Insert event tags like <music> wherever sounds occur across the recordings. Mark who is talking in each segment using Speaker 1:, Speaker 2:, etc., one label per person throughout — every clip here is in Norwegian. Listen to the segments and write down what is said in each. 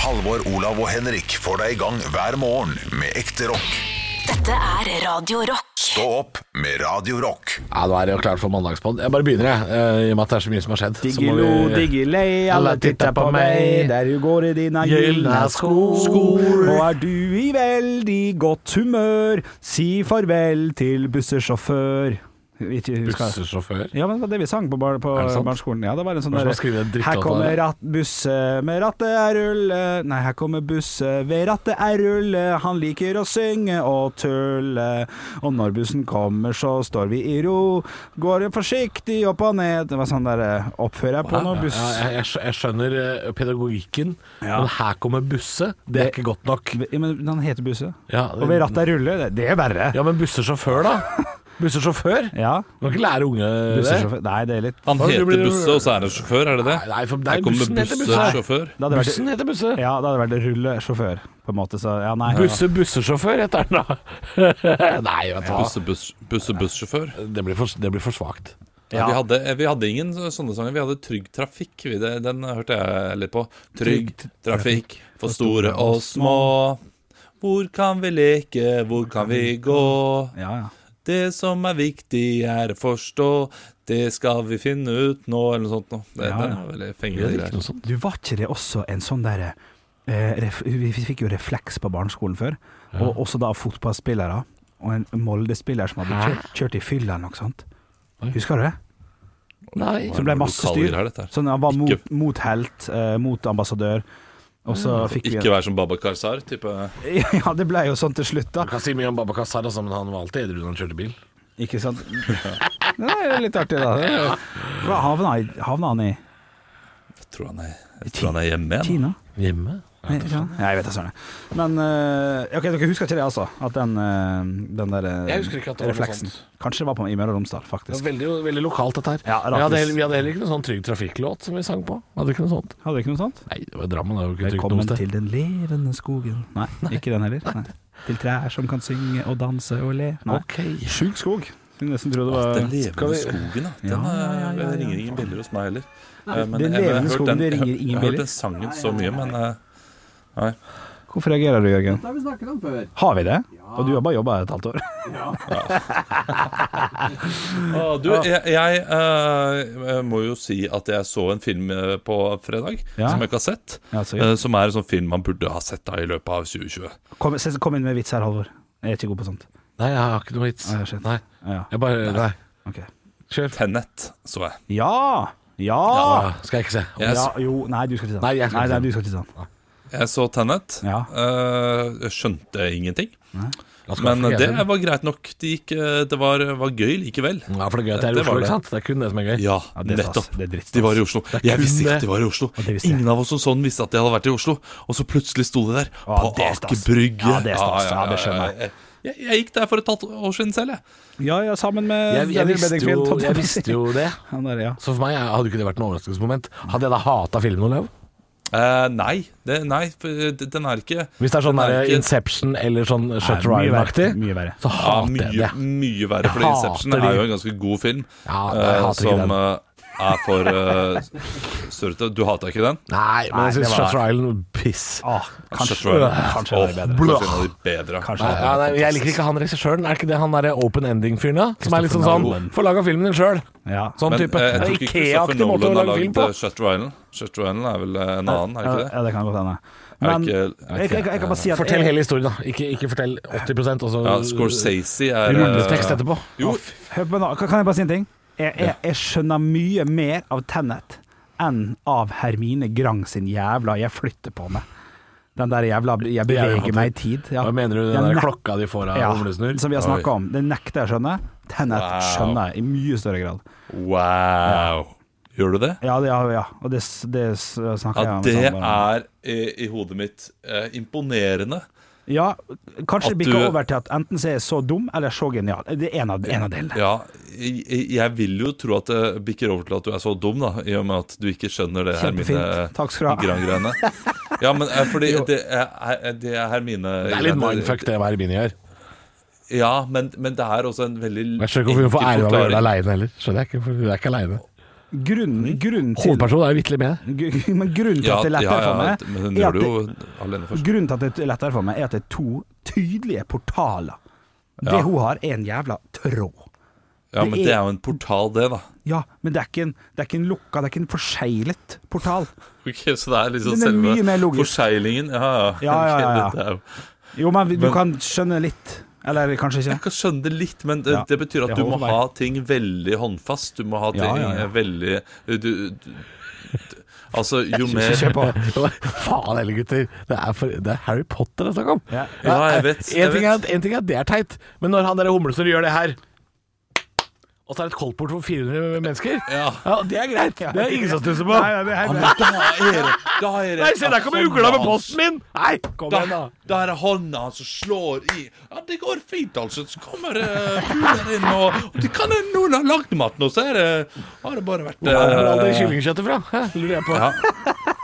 Speaker 1: Halvor, Olav og Henrik får deg i gang hver morgen med ekte rock.
Speaker 2: Dette er Radio Rock.
Speaker 1: Stå opp med Radio Rock.
Speaker 3: Ja, Nå er det jo klart for mandagspod. Jeg bare begynner, jeg. eh, I og med at det er så mye som har skjedd. Så må
Speaker 4: Diggilo,
Speaker 3: vi-
Speaker 4: diggilei, alle titter på meg. Der du går i dine gylne skor. Nå er du i veldig godt humør. Si farvel til bussesjåfør. Ikke husker jeg.
Speaker 3: Bussesjåfør.
Speaker 4: Ja, men det var det vi sang på, bar på
Speaker 3: Er det sant?
Speaker 4: barneskolen. Ja, det var en sånn
Speaker 3: Hvem er det
Speaker 4: der,
Speaker 3: som har skrevet den drittlåta
Speaker 4: Her kommer
Speaker 3: der?
Speaker 4: ratt, busse med rattet er rulle Nei, her kommer busse ved rattet er rulle Han liker å synge og tulle Og når bussen kommer så står vi i ro Går forsiktig opp og ned Det var sånn der eh, oppfører jeg på
Speaker 3: Ja,
Speaker 4: når buss
Speaker 3: ja, jeg, jeg skj- jeg skjønner eh, pedagogikken,
Speaker 4: Ja.
Speaker 3: men her kommer busse. Det er ikke godt nok.
Speaker 4: Ja, Men han heter busse
Speaker 3: Ja,
Speaker 4: Og ved rattet er rulle, det, det er verre
Speaker 3: ja men bussesjåfør, da? Bussesjåfør?
Speaker 4: Ja,
Speaker 3: Du kan ikke lære unge det.
Speaker 4: bussesjåfør Nei, det er litt
Speaker 5: Han
Speaker 3: Hva, det
Speaker 5: heter
Speaker 3: blir-
Speaker 5: Busse, og så er han sjåfør, er det det?
Speaker 3: Nei, nei, for nei,
Speaker 5: Her kommer
Speaker 3: bussen heter busse.
Speaker 5: bussesjåfør.
Speaker 4: det hadde vært-
Speaker 3: Bussen heter busse.
Speaker 4: Ja, det hadde vært rullesjåfør På en måte, så ja, nei
Speaker 3: Busse bussesjåfør heter den da. <laughs> Nei, vet du hva.
Speaker 5: Busse, buss, busse, bussjåfør.
Speaker 3: Det blir for, det blir for svakt.
Speaker 4: Ja.
Speaker 5: Vi, hadde, vi hadde ingen så- sånne sanger. Vi hadde Trygg Trafikk. Vi, det, den hørte jeg litt på. Trygg trafikk for store og små. Hvor kan vi leke, hvor kan vi gå?
Speaker 4: Ja, ja
Speaker 5: Det som er viktig er å forstå, det skal vi finne ut nå, eller noe sånt noe. Det,
Speaker 4: Ja,
Speaker 5: det
Speaker 4: ja.
Speaker 5: er veldig
Speaker 3: Det
Speaker 5: fengende
Speaker 3: er ikke
Speaker 5: greier.
Speaker 3: noe sånt.
Speaker 4: Du var ikke det også en sånn derre eh, ref- Vi fikk jo refleks på barneskolen før, og også da av fotballspillere. Og en Molde-spiller som hadde kjørt, kjørt i fylla eller noe sånt. Husker du det?
Speaker 3: Nei.
Speaker 4: Som ble masse styr.
Speaker 5: Her, dette her.
Speaker 4: Sånn, han var mot,
Speaker 5: Ikke-
Speaker 4: mot helt, eh, mot ambassadør. Og så fikk vi
Speaker 5: Ikke være som Baba Karzar, type
Speaker 4: <laughs> Ja, det ble jo sånn til slutt, da.
Speaker 3: Du kan si mye om Baba Kassar, altså, men han var alltid edru når han kjørte bil.
Speaker 4: Ikke
Speaker 5: <laughs>
Speaker 4: sant? Men Det er jo litt artig, da. Det er jo- Hva havna, i- havna han i
Speaker 5: Jeg tror han er, jeg tror han er hjemme igjen.
Speaker 4: Kina?
Speaker 3: Hjemme?
Speaker 4: Nei, ikke sant? Nei, jeg vet da søren. Men eh, OK, dere husker ikke det, altså? At den, eh, den der eh,
Speaker 3: Jeg husker ikke at det var noe
Speaker 4: refleksen
Speaker 3: sånt.
Speaker 4: Kanskje det var på, i Møre og Romsdal,
Speaker 3: Det var
Speaker 4: faktisk.
Speaker 3: veldig, veldig lokalt, dette her.
Speaker 4: Ja,
Speaker 3: vi, hadde,
Speaker 4: Rakkes.
Speaker 3: heller- vi hadde heller ikke noen sånn Trygg Trafikk-låt som vi sang på. Hadde ikke noe sånt.
Speaker 4: Hadde dere ikke noe sånt?
Speaker 3: Nei, det var Drammen. Det var jo ikke trygt noe
Speaker 4: Velkommen
Speaker 3: sted.
Speaker 4: til den levende skogen. Nei, ikke den heller. Nei. Til trær som kan synge og danse og le. Nei.
Speaker 3: Ok.
Speaker 4: Sjuk skog. Skulle nesten tro det var
Speaker 5: Den
Speaker 3: Skal vi-
Speaker 5: levende skogen, da. Den
Speaker 4: Ja, ja, ja,
Speaker 5: eh,
Speaker 4: ja, ja.
Speaker 5: ringer ingen biller hos meg heller. Eh, men
Speaker 4: Den
Speaker 5: jeg- jeg har
Speaker 4: levende
Speaker 5: hørt
Speaker 4: skogen, det
Speaker 5: jeg har-
Speaker 4: ringer ingen
Speaker 5: Jeg har
Speaker 4: biller.
Speaker 5: hørt den sangen så mye, men eh,
Speaker 4: Hvorfor reagerer du, Jørgen?
Speaker 6: Det har vi snakket om før.
Speaker 4: Har vi det? Og du har bare jobba et halvt år?
Speaker 5: Å, Du, jeg, jeg eh, må jo si at jeg så en film eh, på fredag
Speaker 4: Ja.
Speaker 5: som jeg ikke har sett.
Speaker 4: <laughs> Ja, så
Speaker 5: eh, Som er en sånn film man burde ha sett da i løpet av 2020.
Speaker 4: Kom, se- kom inn med vits her, Halvor. Jeg er ikke god på sånt.
Speaker 3: Nei, jeg har ikke noe hits.
Speaker 4: Nei, shit.
Speaker 3: Nei.
Speaker 4: Ja.
Speaker 3: Jeg bare Nei.
Speaker 4: ok.
Speaker 3: Kjør.
Speaker 5: Tenet så jeg.
Speaker 4: Ja! Ja!
Speaker 3: Ja, skal jeg ikke se.
Speaker 5: Jeg,
Speaker 4: Ja, jo, nei, du skal ikke sånn.
Speaker 3: Nei, jeg skal ikke
Speaker 4: nei,
Speaker 3: sånn.
Speaker 4: du skal ikke sånn.
Speaker 5: jeg så Tenet.
Speaker 4: Ja.
Speaker 5: eh, skjønte ingenting.
Speaker 3: La oss gå
Speaker 5: Men eh,
Speaker 3: for
Speaker 5: det
Speaker 3: Gjersen.
Speaker 5: var greit nok. Det, gikk, eh, det var, var gøy likevel.
Speaker 3: ja, for det er gøy at det er i
Speaker 5: Det var
Speaker 3: Oslo,
Speaker 5: det.
Speaker 3: ikke sant? Det er kun det som er gøy.
Speaker 5: Ja,
Speaker 4: Ja, det er stas.
Speaker 5: nettopp.
Speaker 4: Det er drittstas.
Speaker 5: De var i Oslo. Jeg
Speaker 3: kun
Speaker 5: visste ikke
Speaker 3: det.
Speaker 5: de var i Oslo.
Speaker 4: det visste jeg.
Speaker 5: Ingen av oss som sånn visste at de hadde vært i Oslo. Og så plutselig sto de der,
Speaker 4: Ja,
Speaker 5: på
Speaker 4: det er
Speaker 5: Aker
Speaker 4: stas.
Speaker 5: Brygge.
Speaker 4: Ja, det er stas. Ja, det skjønner jeg.
Speaker 5: ja, ja. Jeg, jeg gikk der for et halvt år siden selv, jeg.
Speaker 4: Ja ja, sammen med
Speaker 3: Jeg, jeg,
Speaker 4: Daniel
Speaker 3: visste
Speaker 4: Bedingfield,
Speaker 3: jo,
Speaker 4: holdt
Speaker 3: jeg
Speaker 4: på å si.
Speaker 3: visste jo det.
Speaker 4: <laughs> Han der, ja.
Speaker 3: Så for meg hadde ikke det vært noe overraskelsesmoment. Hadde jeg da hata filmen, Olav?
Speaker 5: Eh, nei, det, nei, for eh, d- den er ikke
Speaker 3: Hvis det er sånn
Speaker 5: den
Speaker 3: der
Speaker 5: ikke-
Speaker 3: Inception eller sånn Shutter
Speaker 4: Nei, mye verre.
Speaker 3: Island-aktig,
Speaker 4: Mye verre.
Speaker 3: så
Speaker 5: ja,
Speaker 3: hater jeg
Speaker 5: mye,
Speaker 3: det.
Speaker 5: mye verre, for
Speaker 3: Jeg
Speaker 5: Inception
Speaker 3: hater de.
Speaker 5: er jo en ganske god film.
Speaker 3: Ja,
Speaker 5: eh,
Speaker 3: jeg hater ikke den.
Speaker 5: som eh, er for uh, surrete. Du hata ikke den?
Speaker 3: Nei, men jeg
Speaker 4: Nei, det
Speaker 3: syns
Speaker 4: var-
Speaker 3: Shutter Island piss.
Speaker 4: Ah, kanskje,
Speaker 5: Shutter Island.
Speaker 4: kanskje det er bedre.
Speaker 5: Kanskje en av de bedre.
Speaker 4: Kanskje
Speaker 3: Nei,
Speaker 4: det er
Speaker 3: ja,
Speaker 4: bedre.
Speaker 3: nei, jeg liker ikke han regissøren. Er ikke det han derre open ending-fyren, da? Som er litt sånn sånn
Speaker 4: Nolan.
Speaker 3: Få laga filmen din sjøl!
Speaker 4: Ja.
Speaker 3: Sånn
Speaker 5: Men
Speaker 3: type.
Speaker 5: eh, jeg tror ikke Christopher
Speaker 3: Ikea-aktig måte å
Speaker 5: Nolan har
Speaker 3: lage film
Speaker 5: lagd
Speaker 3: på.
Speaker 5: eh, Shutter Island. Shutter Island er vel eh, en annen, er det ikke det?
Speaker 4: Ja, det kan godt hende.
Speaker 5: Er det
Speaker 4: Men jeg,
Speaker 5: ikke-
Speaker 4: jeg, jeg, jeg kan bare si at
Speaker 3: Fortell
Speaker 4: jeg,
Speaker 3: hele historien, da. Ikke, ikke fortell 80 og så
Speaker 5: Ja, Scorsese er eh,
Speaker 3: rulletekst etterpå.
Speaker 5: Jo,
Speaker 4: hør på nå, kan- Kan jeg bare si en ting? Jeg, jeg, jeg skjønner mye mer av Tennet enn av Hermine Grang sin jævla 'jeg flytter på meg'. Den der jævla 'jeg
Speaker 3: Det er jo
Speaker 4: beveger
Speaker 3: fantastisk.
Speaker 4: meg i tid'. Ja.
Speaker 3: Hva mener du den der
Speaker 4: Jeg nek-
Speaker 3: klokka de får av
Speaker 4: ja,
Speaker 3: humlesnurr?
Speaker 4: som vi har snakka om. Det nekter jeg å skjønne. Tennet
Speaker 5: Wow.
Speaker 4: skjønner jeg i mye større grad.
Speaker 5: wow. Gjør du det?
Speaker 4: Ja, det, ja, ja. og det, s- det s- snakker
Speaker 5: Ja,
Speaker 4: jeg
Speaker 5: det
Speaker 4: om.
Speaker 5: er i, i hodet mitt eh, imponerende.
Speaker 4: Ja, kanskje
Speaker 5: At
Speaker 4: det bikker
Speaker 5: du-
Speaker 4: over til at enten så er jeg så dum, eller så genial. Det er en av, en av delene.
Speaker 5: Ja, jeg, jeg vil jo tro at det bikker over til at du er så dum, da, i og med at du ikke skjønner det Hermine
Speaker 4: Kjempefint. Takk skal du ha.
Speaker 5: Gran-greiene. Ja, men eh,
Speaker 3: <laughs>
Speaker 5: fordi det er, er- det er Hermine
Speaker 3: Det er litt mindfuck det Hermine gjør.
Speaker 5: Ja, men, men det er også en veldig
Speaker 3: Jeg skjønner ikke hvorfor hun får
Speaker 5: enkel
Speaker 3: ære av å gjøre det
Speaker 5: forklaring.
Speaker 3: aleine heller. Skjønner jeg ikke, for hun er ikke aleine.
Speaker 5: Mm.
Speaker 4: Grunnen, grunnen til
Speaker 3: Hovedpersonen er jo vitterlig med.
Speaker 4: Gru- <laughs> Men grunnen til at det er lettere for meg,
Speaker 5: men
Speaker 4: er
Speaker 5: hun gjør
Speaker 4: at
Speaker 5: det
Speaker 4: det,
Speaker 5: jo alene først.
Speaker 4: grunnen til at det er lettere for meg, er at det er to tydelige portaler. Det
Speaker 5: Ja.
Speaker 4: hun har, er en jævla tråd.
Speaker 5: Ja, men
Speaker 4: det er-
Speaker 5: det er jo en portal, det, da.
Speaker 4: Ja, men det er ikke en, det er ikke en lukka, det er ikke en forseglet portal.
Speaker 5: Ok, Så det er liksom
Speaker 4: Den er
Speaker 5: selve
Speaker 4: mye mer logisk.
Speaker 5: forseglingen? Ja, ja.
Speaker 4: Ja, ja, ja, ja.
Speaker 5: Ok, dette er jo-
Speaker 4: Jo, men vi- du
Speaker 5: Men-
Speaker 4: kan skjønne litt. Eller kanskje ikke.
Speaker 5: Jeg kan skjønne det litt, men det,
Speaker 4: Ja,
Speaker 5: det betyr at
Speaker 4: det
Speaker 5: du
Speaker 4: holder
Speaker 5: må
Speaker 4: for meg.
Speaker 5: ha ting veldig håndfast. Du må ha ting
Speaker 4: Ja, ja, ja.
Speaker 5: eh, veldig du, du, du- Altså, jo mer
Speaker 4: Kjør
Speaker 3: <laughs>
Speaker 4: på.
Speaker 3: Faen heller, gutter. Det er, for, det er Harry Potter det er snakk om.
Speaker 4: Ja.
Speaker 5: Ja, jeg vet, jeg
Speaker 3: en, ting er,
Speaker 5: vet.
Speaker 3: at- en ting er at det er teit, men når han der humlesnurr gjør det her og så er det et koldtbord for 400 mennesker.
Speaker 5: Ja.
Speaker 3: Det er greit. Det er ingen som stusser på.
Speaker 4: Nei, nei, det er helt rett.
Speaker 5: Da er det Da er det
Speaker 3: Nei, se, der kommer ugla med posten min! Nei, kom
Speaker 5: Da,
Speaker 3: igjen, da.
Speaker 5: da er det hånda som slår i Ja, det går fint, altså. Så kommer eh, fugler inn, og, og de kan noen har lagd mat nå, så er det Har det bare vært
Speaker 3: Hvor er all det
Speaker 5: eh,
Speaker 3: kyllingkjøttet fra? Hæ, Lurer jeg på.
Speaker 5: ja.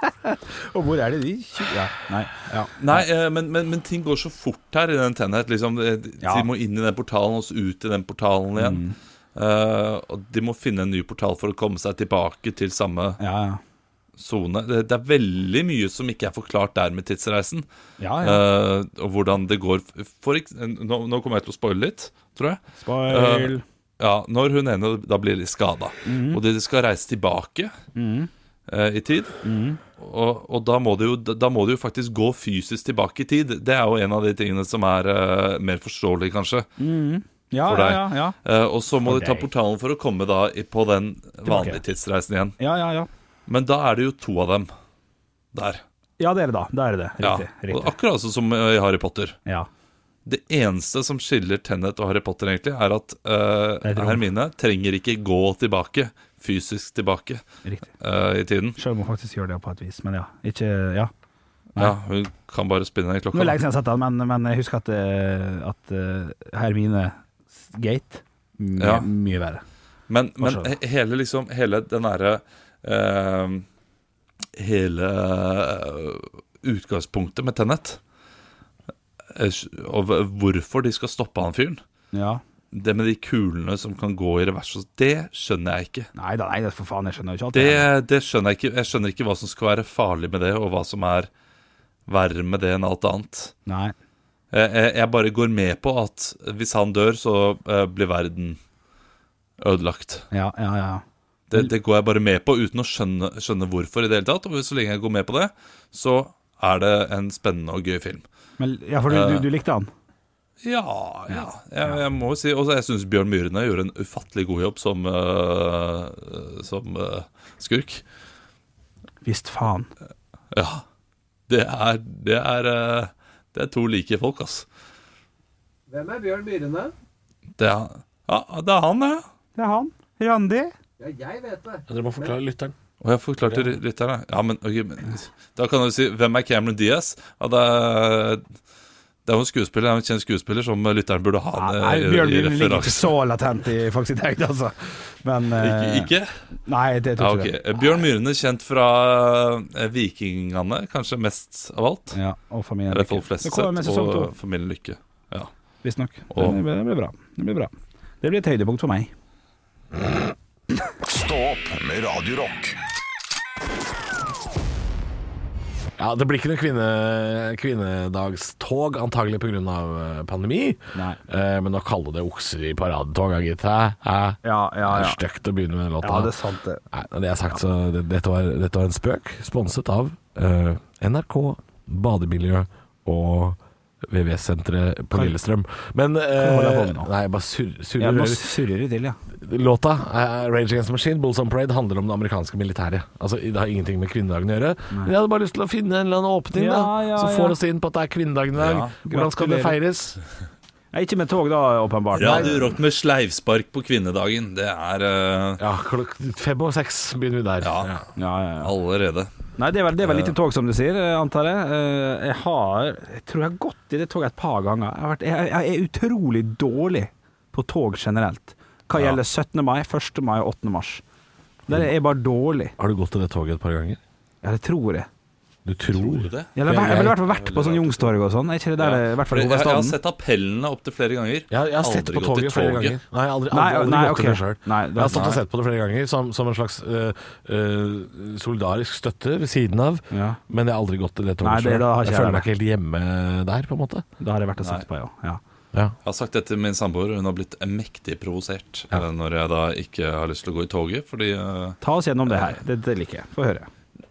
Speaker 4: Og hvor er det de kjø- Ja, nei. Ja.
Speaker 5: Nei, eh, men, men, men ting går så fort her i den Tenet. Liksom, de, de-
Speaker 4: Ja. Mm.
Speaker 5: de må inn i den portalen og så ut i den portalen igjen. Eh, og de må finne en ny portal for å komme seg tilbake til samme
Speaker 4: Ja, ja.
Speaker 5: sone. Det, det er veldig mye som ikke er forklart der med tidsreisen.
Speaker 4: Ah, Ja, ja.
Speaker 5: Eh, og hvordan det går f- for, ekse- nå, nå kommer jeg til å spoile litt, tror jeg. eh,
Speaker 4: Spoil.
Speaker 5: Ja, Når hun ene da blir litt skada,
Speaker 4: Mhm.
Speaker 5: og de skal reise tilbake eh, i tid
Speaker 4: Mhm.
Speaker 5: Og, og da, må de jo, da må de jo faktisk gå fysisk tilbake i tid. Det er jo en av de tingene som er eh, mer forståelig, kanskje.
Speaker 4: Ja, ja,
Speaker 5: for deg.
Speaker 4: ja. ja.
Speaker 5: Eh, og så må
Speaker 4: For
Speaker 5: de ta
Speaker 4: deg.
Speaker 5: portalen for å komme da i- på den vanlige tidsreisen igjen.
Speaker 4: Ja, ja, ja.
Speaker 5: Men da er det jo to av dem der.
Speaker 4: Ja, det er det da. Da er det det.
Speaker 5: Ja.
Speaker 4: Riktig.
Speaker 5: Og
Speaker 4: riktig.
Speaker 5: akkurat sånn som eh, i Harry Potter.
Speaker 4: Ja.
Speaker 5: Det eneste som skiller Tennet og Harry Potter, egentlig, er at eh,
Speaker 4: Det er et rom.
Speaker 5: Hermine trenger ikke gå tilbake, fysisk tilbake,
Speaker 4: Riktig.
Speaker 5: eh, i tiden.
Speaker 4: Sjøl om hun faktisk gjør det på et vis, men ja. Ikke Ja.
Speaker 5: Ja, Hun kan bare spinne
Speaker 4: Nå
Speaker 5: den
Speaker 4: er det
Speaker 5: klokka.
Speaker 4: lenge siden jeg har sett den, men, men jeg husker at, eh, at eh, Hermine Gate mye,
Speaker 5: Ja.
Speaker 4: mye verre.
Speaker 5: Men, men
Speaker 4: skjønner.
Speaker 5: he- hele liksom Hele den derre eh, Hele eh, utgangspunktet med Tennet og hv- hvorfor de skal stoppe han fyren
Speaker 4: Ja.
Speaker 5: Det med de kulene som kan gå i revers og- Det skjønner jeg ikke
Speaker 4: Nei da, nei, for faen, jeg skjønner jo ikke alt.
Speaker 5: det,
Speaker 4: her.
Speaker 5: det skjønner jeg ikke Jeg skjønner ikke hva som skal være farlig med det Og hva som er verre med det enn alt annet
Speaker 4: Nei.
Speaker 5: Jeg, jeg- Eh, jeg bare går med på at Hvis han dør så eh, blir verden ødelagt
Speaker 4: Ja, ja, ja.
Speaker 5: Det,
Speaker 6: Mm.
Speaker 5: det går jeg bare med på uten å skjønne, skjønne hvorfor i det hele tatt. Og så lenge jeg går med på det, så er det en spennende og gøy film.
Speaker 4: Men, ja, for du,
Speaker 5: Eh.
Speaker 4: du, du likte han?
Speaker 5: Ja, ja. Jeg, jeg må jo si Og jeg syns Bjørn Myrene gjorde en ufattelig god jobb som, øh, som øh, skurk.
Speaker 4: Visst faen.
Speaker 5: Ja. Det er Det er, øh, det er to like folk, ass.
Speaker 6: Hvem er Bjørn Myrene?
Speaker 5: Det er, ja, det er han, ja.
Speaker 4: Det er han. Randi.
Speaker 6: Ja, jeg vet det.
Speaker 3: Dere må forklare lytteren.
Speaker 5: Og jeg forklarte ry- lytterne Ja, men, ok, men da kan du si Hvem er Cameron Diaz? Ja, det er det er jo en skuespiller, det er jo en kjent skuespiller som lytteren burde ha
Speaker 4: Ja,
Speaker 5: eh,
Speaker 4: nei,
Speaker 5: i-
Speaker 4: Bjørn
Speaker 5: i
Speaker 4: Myhren ligger ikke
Speaker 5: referanse.
Speaker 4: så latent i <laughs> folk sitt høyde, altså. Men
Speaker 5: Ikke?
Speaker 4: eh,
Speaker 5: ikke?
Speaker 4: Nei, det
Speaker 5: Ja,
Speaker 4: tror
Speaker 5: ok. Eh,
Speaker 4: jeg ikke.
Speaker 5: Bjørn Myrene, kjent fra eh, Vikingene, kanskje mest av alt.
Speaker 4: det. Ja, og familien
Speaker 5: Eller
Speaker 4: Lykke.
Speaker 5: folk flest
Speaker 4: Det kommer med
Speaker 5: sett,
Speaker 4: sesong to,
Speaker 5: og familien Lykke. Ja.
Speaker 4: visstnok.
Speaker 5: og-
Speaker 4: Det, blir- det blir bra. Det blir bra. Det blir et høydepunkt for meg.
Speaker 1: Stå opp med Radio Rock.
Speaker 3: Ja, Det blir ikke noe kvinne, kvinnedagstog, antagelig pga. pandemi.
Speaker 4: Nei.
Speaker 3: Eh, men å kalle det okser i paradetoga, gitt hæ? Hæ?
Speaker 4: Ja, ja,
Speaker 3: Det
Speaker 4: ja.
Speaker 3: er stygt å begynne med den låta.
Speaker 4: Ja, det er sant, det.
Speaker 3: Nei, når det er sagt, så det, dette, var, dette var en spøk, sponset av eh, NRK, Bademiljø og VVS-senteret på
Speaker 4: Kan-
Speaker 3: Lillestrøm. Men
Speaker 4: du holde
Speaker 3: eh,
Speaker 4: deg på nå?
Speaker 3: Nei, jeg bare surrer.
Speaker 4: Ja,
Speaker 3: surrer
Speaker 4: nå surrer det til, ja.
Speaker 3: Låta, eh, Rage Against the Machine, Bulls on Parade, handler om det amerikanske militæret. Altså, Det har ingenting med kvinnedagen å gjøre. Men jeg hadde bare lyst til å finne en eller annen åpning da,
Speaker 4: Ja, ja,
Speaker 3: som
Speaker 4: ja.
Speaker 3: får oss inn på at det er kvinnedagen i dag.
Speaker 5: Ja.
Speaker 3: Hvordan skal det
Speaker 4: Gratulerer.
Speaker 3: feires?
Speaker 4: Nei, Ikke med tog, da, åpenbart.
Speaker 5: Radio Rock med sleivspark på kvinnedagen. Det er eh,
Speaker 3: Ja, klok fem og seks begynner vi der.
Speaker 5: Ja.
Speaker 4: Ja, ja, ja.
Speaker 5: allerede.
Speaker 4: Nei, det er vel, det er vel lite tog, som du sier, eh, antar jeg. Eh, Jeg har Jeg tror jeg har gått i det toget et par ganger. Jeg, har vært, jeg, jeg er utrolig dårlig på tog generelt. Hva
Speaker 5: Ja.
Speaker 4: gjelder 17. mai, 1. mai og 8. mars. Der er jeg bare dårlig.
Speaker 3: Har du gått til det toget et par ganger?
Speaker 4: Ja, det tror jeg.
Speaker 3: Du
Speaker 5: Tror
Speaker 3: tror
Speaker 5: du det?
Speaker 4: Jeg har jeg har i hvert fall vært
Speaker 5: Det er
Speaker 4: på sånn
Speaker 5: veldig rart.
Speaker 4: Youngstorget og sånn. Er ikke det der det i hvert fall
Speaker 5: Fordi
Speaker 4: går
Speaker 5: jeg, jeg har
Speaker 4: bestanden?
Speaker 5: sett appellene opptil flere ganger.
Speaker 3: Jeg, jeg har sett
Speaker 5: Aldri
Speaker 3: på
Speaker 5: gått i
Speaker 3: toget flere
Speaker 5: toget.
Speaker 3: ganger. Nei, jeg har aldri, aldri,
Speaker 4: Nei,
Speaker 3: aldri
Speaker 4: nei,
Speaker 3: gått
Speaker 4: ok.
Speaker 3: til det selv.
Speaker 4: Nei, det-
Speaker 3: jeg har stått og
Speaker 4: nei.
Speaker 3: sett på det flere ganger som, som en slags øh, øh, solidarisk støtte ved siden av.
Speaker 4: Ja.
Speaker 3: Men jeg har aldri gått til det
Speaker 4: Nei,
Speaker 3: toget
Speaker 4: det-
Speaker 3: selv.
Speaker 4: da har ikke
Speaker 3: Jeg
Speaker 4: jeg
Speaker 3: føler
Speaker 4: det.
Speaker 3: meg ikke helt hjemme der, på en måte.
Speaker 4: Da har jeg vært og sett på, ja. ja.
Speaker 3: Ja.
Speaker 5: Jeg har sagt dette til min samboer, hun har blitt mektig provosert
Speaker 3: Ja.
Speaker 5: eh, når jeg da ikke har lyst til å gå i toget. Fordi eh,
Speaker 4: Ta oss gjennom det her. Dette liker jeg. Få høre.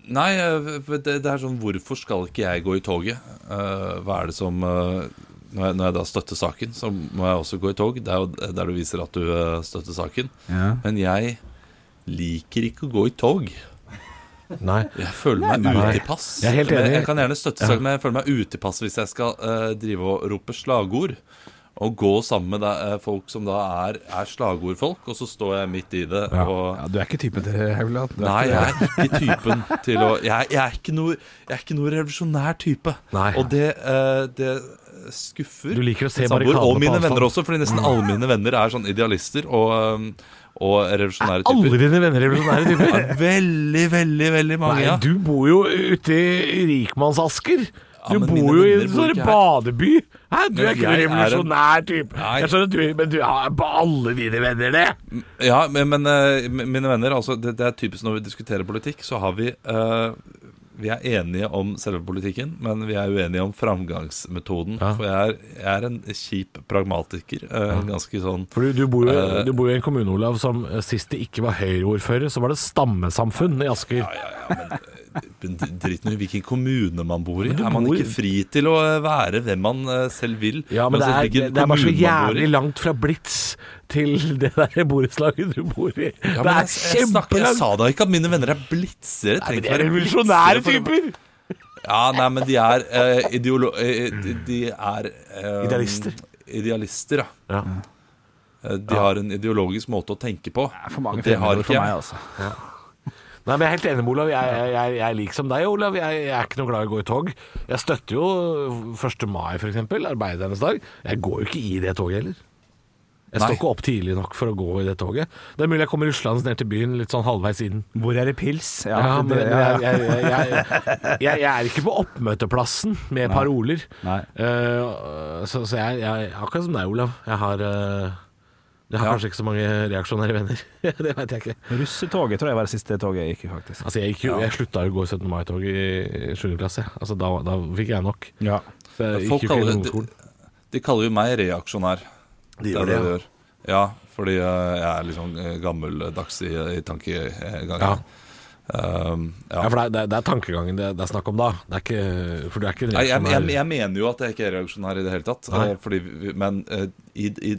Speaker 5: Nei, eh, det, det er sånn Hvorfor skal ikke jeg gå i toget? Eh, hva er det som eh, når, jeg, når jeg da støtter saken, så må jeg også gå i tog. Det er jo der du viser at du eh, støtter saken.
Speaker 4: Ja.
Speaker 5: Men jeg liker ikke å gå i tog.
Speaker 3: Nei.
Speaker 5: Jeg føler meg
Speaker 3: nei.
Speaker 5: utilpass.
Speaker 3: Jeg er helt enig.
Speaker 5: Men Jeg kan gjerne støtte saken, men jeg føler meg utilpass hvis jeg skal eh, drive og rope slagord. Og gå sammen med deg, eh, folk som da er, er slagordfolk, og så står jeg midt i det. Og,
Speaker 4: du er ikke typen til det, Haugland. Du er
Speaker 5: Nei,
Speaker 4: ikke det.
Speaker 5: jeg er ikke typen til å Jeg, jeg, er, ikke noe, jeg er ikke noe revolusjonær type.
Speaker 3: Nei.
Speaker 5: Og det, eh, det skuffer
Speaker 3: Du liker å se
Speaker 5: min samboer,
Speaker 3: barrikadene på
Speaker 5: Og mine
Speaker 3: avstand.
Speaker 5: venner også, fordi nesten alle mine venner er sånn idealister og, eh, og revolusjonære
Speaker 3: Alle
Speaker 5: typer.
Speaker 3: dine venner er revolusjonære
Speaker 5: <laughs>
Speaker 3: typer.
Speaker 5: Ja, Veldig, veldig, veldig mange,
Speaker 3: Nei,
Speaker 5: ja.
Speaker 3: du bor jo ute i rikmannsasker.
Speaker 5: Ja,
Speaker 3: Du
Speaker 5: men mine
Speaker 3: bor jo i en
Speaker 5: venner bor
Speaker 3: sånn
Speaker 5: ikke her.
Speaker 3: badeby. Hæ, du er
Speaker 5: Jeg
Speaker 3: ikke noen
Speaker 5: er en-
Speaker 3: revolusjonær type.
Speaker 5: Nei.
Speaker 3: Jeg skjønner at du, Men du har på alle dine venner det.
Speaker 5: ja men, men eh, mine venner, altså, det, det er typisk når vi diskuterer politikk, så har vi eh, vi er enige om selve politikken, men vi er uenige om framgangsmetoden.
Speaker 3: Ja.
Speaker 5: For jeg er, jeg er en kjip pragmatiker. eh, Ganske sånn
Speaker 3: For du, du, bor jo,
Speaker 5: Eh.
Speaker 3: du bor jo i en kommune, Olav, som eh, sist det ikke var Høyre-ordfører, så var det stammesamfunn i Asker.
Speaker 5: Men d- Drit nå i hvilken kommune man bor i.
Speaker 3: Men du
Speaker 5: Er man
Speaker 3: bor i-
Speaker 5: ikke fri til å eh, være hvem man eh, selv vil?
Speaker 3: Ja, men det
Speaker 5: altså,
Speaker 3: er,
Speaker 5: hvilken
Speaker 3: det det er bare så
Speaker 5: kommune man bor i.
Speaker 3: jævlig langt fra Blitz til det der borettslaget du bor i.
Speaker 5: ja,
Speaker 3: det er
Speaker 5: men jeg, jeg, snakker- jeg
Speaker 3: kjempelangt.
Speaker 5: sa da ikke at mine venner er blitzere.
Speaker 3: Nei,
Speaker 5: Trenger
Speaker 3: men
Speaker 5: ikke
Speaker 3: de er
Speaker 5: være
Speaker 3: revolusjonære
Speaker 5: blitzere for å-
Speaker 3: typer!
Speaker 5: Ja, nei, men de er eh, ideolo... eh, de, de er eh,
Speaker 3: Mm. Idealister.
Speaker 5: Idealister, ja.
Speaker 3: Ja.
Speaker 5: Eh, De har en ideologisk måte å tenke på.
Speaker 4: For mange
Speaker 5: og det har
Speaker 4: fremmedord
Speaker 5: ikke
Speaker 4: for meg,
Speaker 5: jeg.
Speaker 4: altså.
Speaker 3: Nei, men Jeg er helt enig med Olav. Jeg, jeg, jeg, jeg er lik som deg, Olav. Jeg, jeg er ikke noe glad i å gå i tog. Jeg støtter jo 1. mai, f.eks. Arbeidernes dag. Jeg går jo ikke i det toget heller. Jeg står
Speaker 5: Nei.
Speaker 3: ikke opp tidlig nok for å gå i det toget. Det er mulig jeg kommer ruslandes ned til byen litt sånn halvveis inn.
Speaker 4: Hvor er det pils? Ja,
Speaker 3: Ja, men
Speaker 4: det,
Speaker 3: jeg,
Speaker 4: ja, ja.
Speaker 3: jeg, jeg, jeg, jeg, jeg er ikke på oppmøteplassen med paroler.
Speaker 4: Nei.
Speaker 3: Eh, så så jeg, jeg akkurat som deg, Olav. Jeg har, eh, jeg har kanskje ikke så mange reaksjonære venner. <laughs> det veit jeg ikke.
Speaker 4: Russetoget tror jeg var det siste toget jeg gikk i, faktisk.
Speaker 3: Altså, jeg, gikk jo, jeg slutta jo å gå i 17. mai-tog i 7. klasse. Altså, da, da fikk jeg nok.
Speaker 4: Ja.
Speaker 3: Så jeg
Speaker 5: Folk
Speaker 3: gikk jo ikke i
Speaker 5: kaller det-
Speaker 3: ungdomsskolen.
Speaker 5: De kaller jo meg reaksjonær.
Speaker 3: De
Speaker 5: er
Speaker 3: gjør det,
Speaker 5: de
Speaker 3: ja.
Speaker 5: gjør. Ja, fordi eh, jeg er litt sånn eh, gammeldags i, i eh, tankegangen.
Speaker 3: Ja.
Speaker 5: Um, ja.
Speaker 3: Ja, for det er, det er- det er tankegangen det, det er snakk om da. Det er ikke, for du er ikke en
Speaker 5: Nei, jeg, jeg,
Speaker 3: reaksjonær.
Speaker 5: jeg mener jo at jeg ikke er reaksjonær i det hele tatt.
Speaker 3: Nei.
Speaker 5: eh, Fordi, vi- men eh, i, i,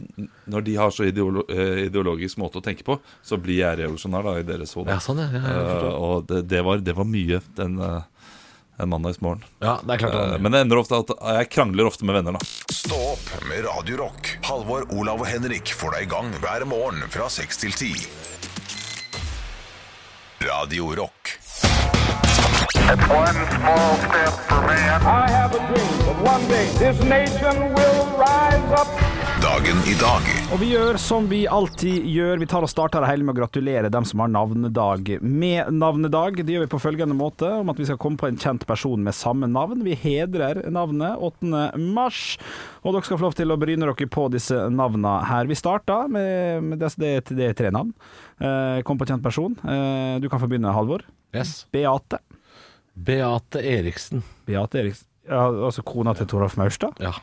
Speaker 5: når de har så ideolo, eh, ideologisk måte å tenke på, så blir jeg reaksjonær da, i deres hode.
Speaker 3: Ja, sånn, ja. ja, jeg
Speaker 5: Eh,
Speaker 3: forstår.
Speaker 5: og det, det, var, det var mye den, eh, den mandagsmorgen.
Speaker 3: ja, det er klart. det
Speaker 5: Eh,
Speaker 3: er mye.
Speaker 5: men det ender ofte at eh, jeg krangler ofte med venner, da.
Speaker 1: Stå opp med Radio Rock. Halvor, Olav og Henrik får deg i gang hver morgen fra 6 til 10. Radio Rock.
Speaker 7: One small step for man.
Speaker 8: I have a dream that one day this nation will rise up.
Speaker 1: Dagen i dag
Speaker 4: Og vi gjør som vi alltid gjør. Vi tar og starter det hele med å gratulere dem som har navnedag med navnedag. Det gjør vi på følgende måte, om at vi skal komme på en kjent person med samme navn. Vi hedrer navnet 8. mars, og dere skal få lov til å bryne dere på disse navnene her. Vi starter med, med det, det, det er tre navn. Eh, kom på kjent person. Eh, du kan få begynne, Halvor.
Speaker 3: Yes.
Speaker 4: Beate.
Speaker 3: Beate Eriksen.
Speaker 4: Beate Eriksen. Ja, altså kona til Toralf Maurstad?
Speaker 3: Ja.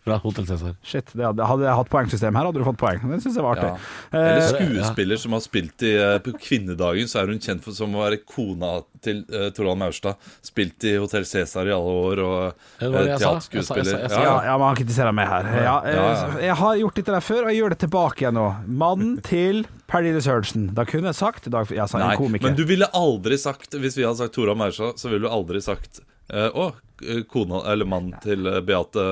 Speaker 3: Fra Hotell Cæsar.
Speaker 4: Shit, det hadde, hadde jeg hatt poengsystem her, hadde du fått poeng. Det syns jeg var artig.
Speaker 5: Ja. Eller skuespiller som har spilt i eh, På kvinnedagen så er hun kjent for som å være kona til uh, Torvald Maurstad. Spilt i Hotell Cæsar i alle år, og uh,
Speaker 3: Ja, det var det jeg sa. Jeg sa- jeg sa-
Speaker 5: teaterskuespiller.
Speaker 3: jeg sa-
Speaker 5: Ja,
Speaker 4: Ja,
Speaker 5: ja.
Speaker 4: ja, men han kritiserer meg her. Ja, eh,
Speaker 5: Ja, ja.
Speaker 4: Jeg har gjort dette der før, og jeg gjør det tilbake igjen nå.
Speaker 5: <laughs>
Speaker 4: Mannen til Pernille Sørensen. Da kunne jeg sagt Dag, Jeg sa en
Speaker 5: Nei,
Speaker 4: komiker.
Speaker 5: men du ville aldri sagt Hvis vi hadde sagt Torvald Maurstad, så ville du aldri sagt eh, Å, kona eller mannen til eh, Beate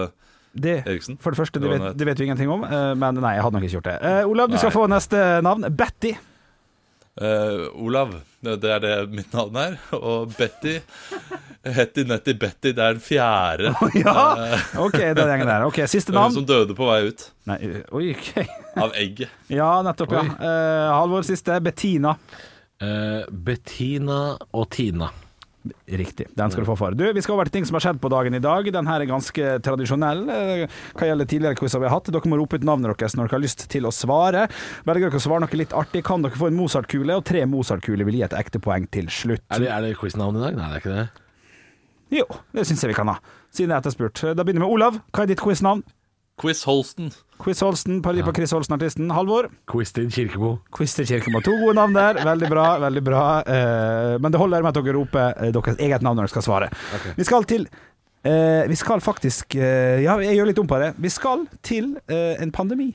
Speaker 4: det,
Speaker 5: Eriksen?
Speaker 4: For det første, det
Speaker 5: Det var
Speaker 4: vet,
Speaker 5: noe-
Speaker 4: det vet vi ingenting om, eh, men nei, jeg hadde nok ikke gjort det. Eh, Olav, du skal
Speaker 5: Nei.
Speaker 4: få neste navn. Betty. <laughs>
Speaker 5: eh, Olav. Det er det mitt navn er. Og Betty Hetty Netty Betty, det er den fjerde
Speaker 4: Ja! OK, den gjengen der. Ok, Siste
Speaker 5: eh,
Speaker 4: navn.
Speaker 5: som døde på vei ut
Speaker 4: Nei, oi, ok. <laughs>
Speaker 5: av egget.
Speaker 4: Ja, nettopp, ja.
Speaker 3: Oi.
Speaker 4: Eh, Halvor, siste. Bettina.
Speaker 3: Eh, Bettina og Tina.
Speaker 4: Riktig. Den skal du få for. Du, vi skal over til ting som har skjedd på dagen i dag. Den her er ganske tradisjonell eh, hva gjelder tidligere quizer vi har hatt. Dere må rope ut navnet deres når dere har lyst til å svare. Velger dere å svare noe litt artig, kan dere få en Mozart-kule, og tre Mozart-kuler vil gi et ekte poeng til slutt.
Speaker 3: Er det, er det quiznavn i dag? Nei, det er ikke det.
Speaker 4: Jo, det syns jeg vi kan ha, siden jeg er etterspurt. Da begynner vi med Olav. Hva er ditt quiznavn?
Speaker 5: Quiz Holsten.
Speaker 4: Quiz Holsten, parodi på Chris Holsten-artisten. Halvor?
Speaker 3: Quistin Kirkebo.
Speaker 4: Christer Kirkemo. To gode navn der. Veldig bra. veldig bra Eh, Men det holder med at dere roper eh, deres eget navn når dere skal svare. Vi skal til eh, Vi skal faktisk eh, Ja, jeg gjør litt om på det. Vi skal til eh, en pandemi.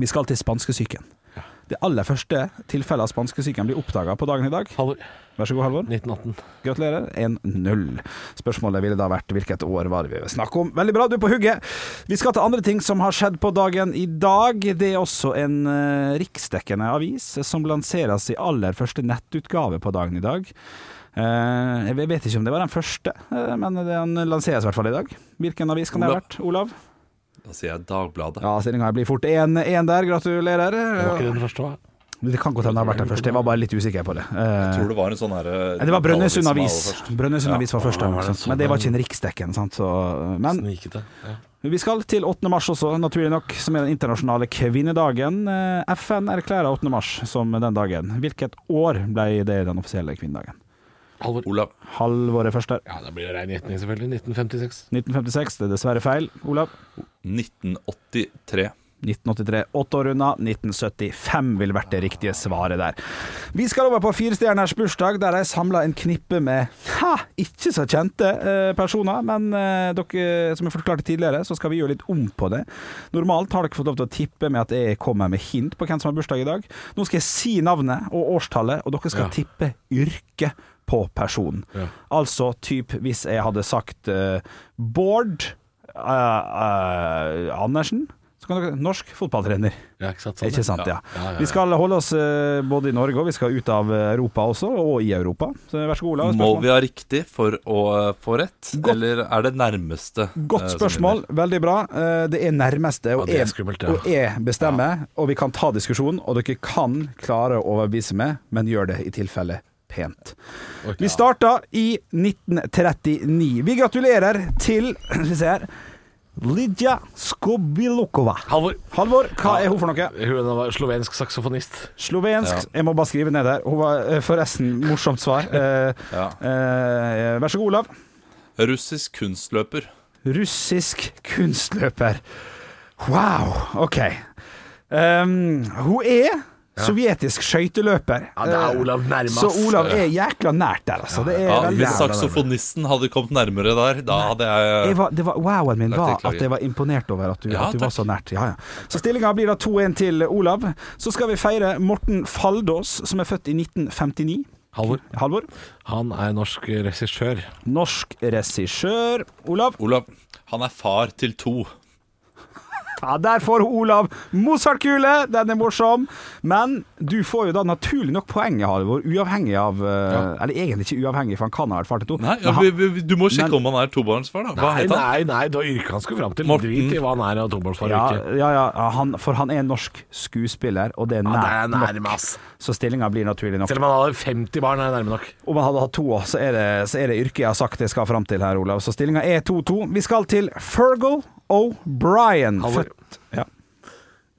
Speaker 4: Vi skal til spanskesyken. Det aller første tilfellet av spanskesyken blir oppdaga på dagen i dag.
Speaker 3: Halvor.
Speaker 4: Vær så god, Halvor.
Speaker 3: 1918.
Speaker 4: Gratulerer. 1-0. Spørsmålet ville da vært hvilket år var det vi snakket om. Veldig bra, du er på hugget. Vi skal til andre ting som har skjedd på dagen i dag. Det er også en eh, riksdekkende avis som lanseres i aller første nettutgave på dagen i dag. Eh, jeg vet ikke om det var den første, eh, men den lanseres i hvert fall i dag. Hvilken avis kan det ha
Speaker 5: Olav.
Speaker 4: vært, Olav?
Speaker 5: Da sier jeg Dagbladet.
Speaker 4: Ja, stillinga blir fort 1-1 der. Gratulerer.
Speaker 3: Det var ikke den første, hva?
Speaker 4: Det kan godt hende det har vært den første, jeg var bare litt usikker på det. Eh,
Speaker 5: Jeg tror det var en sånn her
Speaker 4: Nei, Det var Brønnøysund Avis.
Speaker 5: Dagbladet som var aller først.
Speaker 4: Brønnøysund Avis var først,
Speaker 3: Ja, var det
Speaker 4: sant?
Speaker 3: sånn,
Speaker 4: men det var
Speaker 3: ja.
Speaker 4: ikke en riksdekken. Sant? Så, men
Speaker 3: Snikete. Ja.
Speaker 4: vi skal til 8. mars også, naturlig nok, som er den internasjonale kvinnedagen. Eh, FN erklærer 8. mars som den dagen. Hvilket år ble det den offisielle kvinnedagen?
Speaker 3: Halvor.
Speaker 5: Olav.
Speaker 4: Halvåret først der.
Speaker 3: Ja, da blir det rein gjetning, selvfølgelig. 1956.
Speaker 4: 1956, det er dessverre feil. Olav?
Speaker 5: 1983.
Speaker 4: 1983, åtte år unna. 1975 ville vært det riktige svaret der. Vi skal over på Firestjerners bursdag, der de samla en knippe med ha, ikke så kjente eh, personer. Men eh, dere, som jeg forklarte tidligere, så skal vi gjøre litt om på det. Normalt har dere fått lov til å tippe med at jeg kommer med hint på hvem som har bursdag i dag. Nå skal jeg si navnet og årstallet, og dere skal
Speaker 3: Ja.
Speaker 4: tippe yrke på personen.
Speaker 3: Ja.
Speaker 4: Altså typ hvis jeg hadde sagt eh, Bård eh, eh, Andersen, så kan dere norsk fotballtrener.
Speaker 3: Ja, ikke sant?
Speaker 4: Ikke sant, ja.
Speaker 3: Sånn, Ja, ja, ja.
Speaker 4: Vi skal holde oss eh, både i Norge og vi skal ut av Europa også, og i Europa. Så vær så god, Olav.
Speaker 5: Må
Speaker 4: spørsmål.
Speaker 5: vi ha riktig for å eh, få rett,
Speaker 4: Godt-
Speaker 5: eller er det nærmeste? eh,
Speaker 4: Godt
Speaker 5: som
Speaker 4: spørsmål,
Speaker 5: vinner?
Speaker 4: veldig bra. Eh, Det er nærmeste, og
Speaker 3: Ja, det er
Speaker 4: jeg-
Speaker 3: skummelt, ja.
Speaker 4: og jeg bestemmer. Og vi kan ta diskusjonen, og dere kan klare å overbevise meg, men gjør det i tilfelle pent. Vi starta i 1939. Vi gratulerer til <clears throat> skal vi se her, Lidja Skobilokova.
Speaker 3: Halvor.
Speaker 4: Halvor, hva er hun for noe?
Speaker 3: Hun var slovensk saksofonist.
Speaker 4: Slovensk. Jeg må bare skrive ned her. Hun var eh, forresten morsomt svar. Eh,
Speaker 5: Ja.
Speaker 4: eh, Vær så god, Olav.
Speaker 5: Russisk kunstløper.
Speaker 4: Russisk kunstløper. Wow, ok. Um, hun er sovjetisk skøyteløper. Eh,
Speaker 3: Ja, det er Olav nærmest.
Speaker 4: Så Olav er jækla nært der, altså. Det er
Speaker 5: Ja,
Speaker 4: veldig
Speaker 5: hvis saksofonisten hadde kommet nærmere der, da hadde jeg
Speaker 4: jeg var, det var, Wow-en min
Speaker 5: Nei,
Speaker 4: var
Speaker 5: beklager.
Speaker 4: at jeg var imponert over at du,
Speaker 5: Ja,
Speaker 4: at du var
Speaker 5: takk.
Speaker 4: så nært. Ja, ja. Så stillinga blir da 2-1 til Olav. Så skal vi feire Morten Faldås, som er født i 1959.
Speaker 3: Halvor.
Speaker 4: Halvor.
Speaker 3: Han er norsk regissør.
Speaker 4: Norsk regissør. Olav.
Speaker 5: Olav, han er far til to.
Speaker 4: Ja, der får Olav Mozart-kule. Den er morsom. Men du får jo da naturlig nok poenget, Halvor, uavhengig av eh, Eller egentlig ikke uavhengig, for han kan ha vært far til to.
Speaker 5: Nei, ja,
Speaker 4: Men
Speaker 5: vi,
Speaker 4: han,
Speaker 5: vi, du må sjekke
Speaker 4: Men-
Speaker 5: om han er tobarnsfar, da. Hva
Speaker 3: Nei,
Speaker 5: het han?
Speaker 3: nei, nei, det var yrket han skulle fram til.
Speaker 5: Morten.
Speaker 3: Drit i hva han er av tobarnsfar.
Speaker 4: ja,
Speaker 3: Ja,
Speaker 4: ja, ja han, for han er norsk skuespiller, og det er
Speaker 3: det er
Speaker 4: nært nok.
Speaker 3: nærme, ass.
Speaker 4: Så stillinga blir naturlig nok.
Speaker 3: Selv om han hadde 50 barn, er det nærme nok.
Speaker 4: Om han hadde hatt to, så er det, så er det yrket jeg har sagt jeg skal fram til her, Olav. Så stillinga er 2-2. Vi skal til Fergal O'Brien.
Speaker 3: Halvor.
Speaker 4: Født- Ja.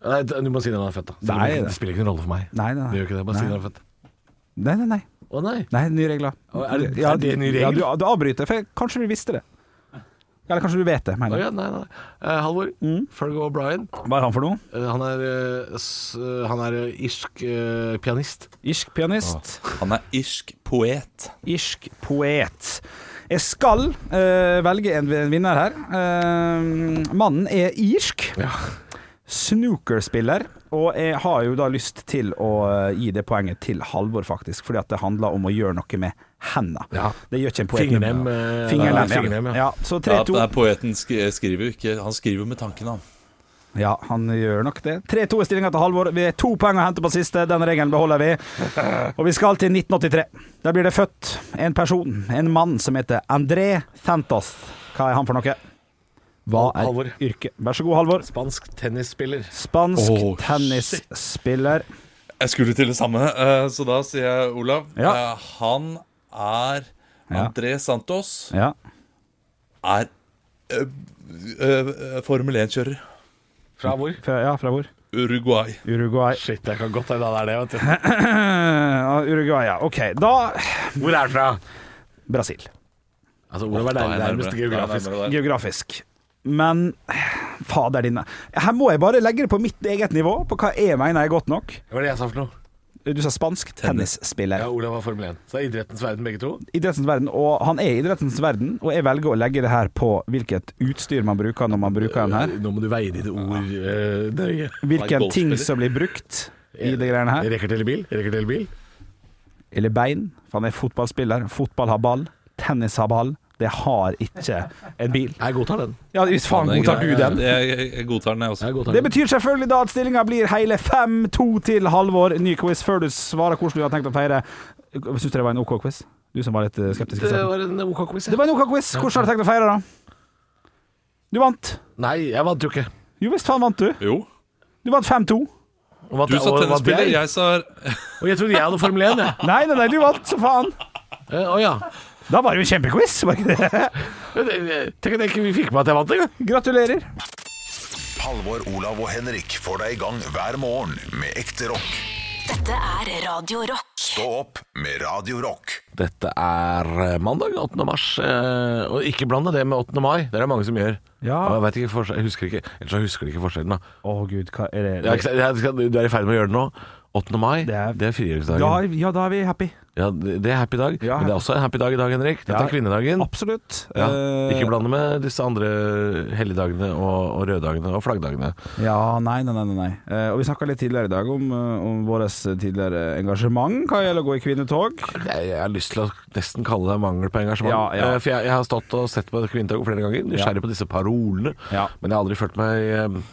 Speaker 3: Nei, du må si når han er født, da. Det,
Speaker 4: Nei,
Speaker 3: spiller-
Speaker 4: det-
Speaker 3: det spiller ikke noen rolle for meg.
Speaker 4: Nei, nei, nei.
Speaker 3: Det gjør ikke det, bare si
Speaker 4: Nei.
Speaker 3: når han er født.
Speaker 4: Nei, nei, nei.
Speaker 3: Å nei.
Speaker 4: Nei, nye regler.
Speaker 3: Å, er det-
Speaker 4: Ja,
Speaker 3: er det en ny
Speaker 4: Ja,
Speaker 3: regel?
Speaker 4: du, du avbryter, for jeg- kanskje du visste det. Eller kanskje du vet det,
Speaker 3: Å
Speaker 4: mener jeg.
Speaker 3: ja, nei, nei. Eh, Halvor. Fergo O'Brien.
Speaker 4: Hva er han for noe?
Speaker 3: Eh, han er, eh, s- eh, han er eh, irsk eh, pianist.
Speaker 4: Irsk pianist.
Speaker 5: Han er irsk poet.
Speaker 4: Irsk poet. Jeg skal eh, velge en vin- vinner her. Eh, mannen er irsk.
Speaker 3: Ja.
Speaker 4: Snookerspiller. Og jeg har jo da lyst til å eh, gi det poenget til Halvor, faktisk. Fordi at det handler om å gjøre noe med henda.
Speaker 3: Ja.
Speaker 4: Det gjør ikke en poet.
Speaker 3: Fingernem. eh,
Speaker 4: Fingernem,
Speaker 3: nei,
Speaker 4: ja.
Speaker 3: fingernem, ja.
Speaker 4: ja. Så
Speaker 5: Ja, det
Speaker 4: 3-2.
Speaker 5: er poeten sk- skriver jo ikke Han skriver jo med tanken, han.
Speaker 4: Ja, han gjør nok det. 3-2 er stillinga til Halvor. Vi er to poeng å hente på siste. Den regelen beholder vi. Og vi skal til 1983. Der blir det født en person, en mann, som heter André Santos. Hva er han for noe? Hva er
Speaker 3: Halvor.
Speaker 4: yrket? Vær så god, Halvor.
Speaker 3: Spansk tennisspiller.
Speaker 4: Spansk
Speaker 5: Åh,
Speaker 4: tennisspiller.
Speaker 5: Jeg skulle til det samme, eh, så da sier jeg Olav.
Speaker 4: Ja.
Speaker 5: Eh, Han er
Speaker 4: Ja.
Speaker 5: André Santos
Speaker 4: Ja.
Speaker 5: er ø, ø, ø, Formel 1-kjører.
Speaker 3: Fra hvor?
Speaker 4: Fra, ja, fra hvor?
Speaker 5: Uruguay.
Speaker 4: Uruguay.
Speaker 3: Shit, jeg kan godt hende han er det. Vet du.
Speaker 4: Ja, Uruguay, ja. OK, da
Speaker 3: Hvor er han fra?
Speaker 4: Brasil.
Speaker 3: Altså, Olav er
Speaker 5: Da er
Speaker 3: nærmest,
Speaker 5: jeg
Speaker 3: nærmest
Speaker 5: nærmere.
Speaker 3: geografisk.
Speaker 5: Da er jeg nærmere der.
Speaker 4: Geografisk. Men fader dine. Her må jeg bare legge det på mitt eget nivå, på hva jeg mener er godt nok.
Speaker 3: Hva var det jeg sa for noe?
Speaker 4: Du sa spansk
Speaker 5: Tennis.
Speaker 3: Ja,
Speaker 4: tennisspiller.
Speaker 3: Olav var Formel 1. Så er idrettens verden begge to.
Speaker 4: Idrettens verden, og han er i idrettens verden, og jeg velger å legge det her på hvilket utstyr man bruker når man bruker den her.
Speaker 3: Nå må du veie dine ord eh, nøye.
Speaker 4: Hvilken
Speaker 5: golfspiller.
Speaker 4: ting som blir brukt i de greiene her.
Speaker 3: Rekker til bil? Rekker til bil?
Speaker 4: Eller bein, for han er fotballspiller. Fotball har ball. Tennis har ball. Det har ikke en bil.
Speaker 3: Jeg godtar den.
Speaker 4: Ja, hvis faen
Speaker 5: Det er
Speaker 4: godtar du
Speaker 5: greit.
Speaker 4: den?
Speaker 5: Jeg, jeg, jeg godtar den, jeg også.
Speaker 3: Jeg godtar
Speaker 4: Det
Speaker 3: den.
Speaker 4: betyr selvfølgelig da at stillinga blir hele 5-2 til Halvor. Ny quiz før du svarer hvordan du har tenkt å feire. Syns du det var en OK quiz? Du som var litt eh, skeptisk. i
Speaker 3: Det
Speaker 4: starten.
Speaker 3: var en OK quiz.
Speaker 4: Det var en OK quiz. Hvordan har du tenkt å feire, da? Du vant.
Speaker 3: Nei, jeg vant jo ikke.
Speaker 4: Jo visst faen vant du.
Speaker 5: Jo.
Speaker 4: Du vant 5-2.
Speaker 3: Vant,
Speaker 5: Du sa
Speaker 3: og- vant
Speaker 5: tennisspiller,
Speaker 3: jeg?
Speaker 5: jeg sa
Speaker 3: Og jeg trodde jeg hadde Formel 1, jeg.
Speaker 4: Nei, nei, nei, du vant, så faen.
Speaker 3: Eh, Å ja.
Speaker 4: Da var det jo kjempequiz, var ikke det? <laughs>
Speaker 3: Tenk at jeg ikke vi fikk med at jeg vant engang.
Speaker 4: Gratulerer.
Speaker 1: Halvor, Olav og Henrik får deg i gang hver morgen med ekte rock.
Speaker 2: Dette er Radio Rock.
Speaker 1: Stå opp med Radio Rock.
Speaker 3: Dette er eh, mandag 8. mars, eh, og ikke blande det med 8. mai. Det er det mange som gjør.
Speaker 4: Ja.
Speaker 3: Og Jeg, vet ikke forskjell- jeg husker ikke Ellers så husker de ikke forskjellen. da
Speaker 4: Å gud, hva er
Speaker 3: Jeg er ikke- jeg skal- Du er i ferd med å gjøre det nå. 8. mai,
Speaker 4: Det
Speaker 3: det
Speaker 4: er-
Speaker 3: er, frigjøringsdagen.
Speaker 4: Da, ja, da er vi happy.
Speaker 3: Ja, det det er happy dag,
Speaker 4: Ja.
Speaker 3: men det er også en happy dag i dag, Henrik. Dette
Speaker 4: Ja.
Speaker 3: er kvinnedagen.
Speaker 4: Absolutt.
Speaker 3: Ja.
Speaker 4: Eh,
Speaker 3: Ikke blande med disse andre helligdagene og, og røddagene og flaggdagene.
Speaker 4: Ja, nei, nei, nei, nei, nei. Eh, Og vi snakka litt tidligere i dag om, eh, om vårt tidligere engasjement hva gjelder å gå i kvinnetog.
Speaker 3: Jeg, jeg har lyst til å nesten kalle det mangel på engasjement.
Speaker 4: Ja, ja.
Speaker 3: Eh, For jeg, jeg har stått og sett på kvinnetog flere ganger, nysgjerrig på disse parolene.
Speaker 4: Ja.
Speaker 3: Men jeg har aldri følt meg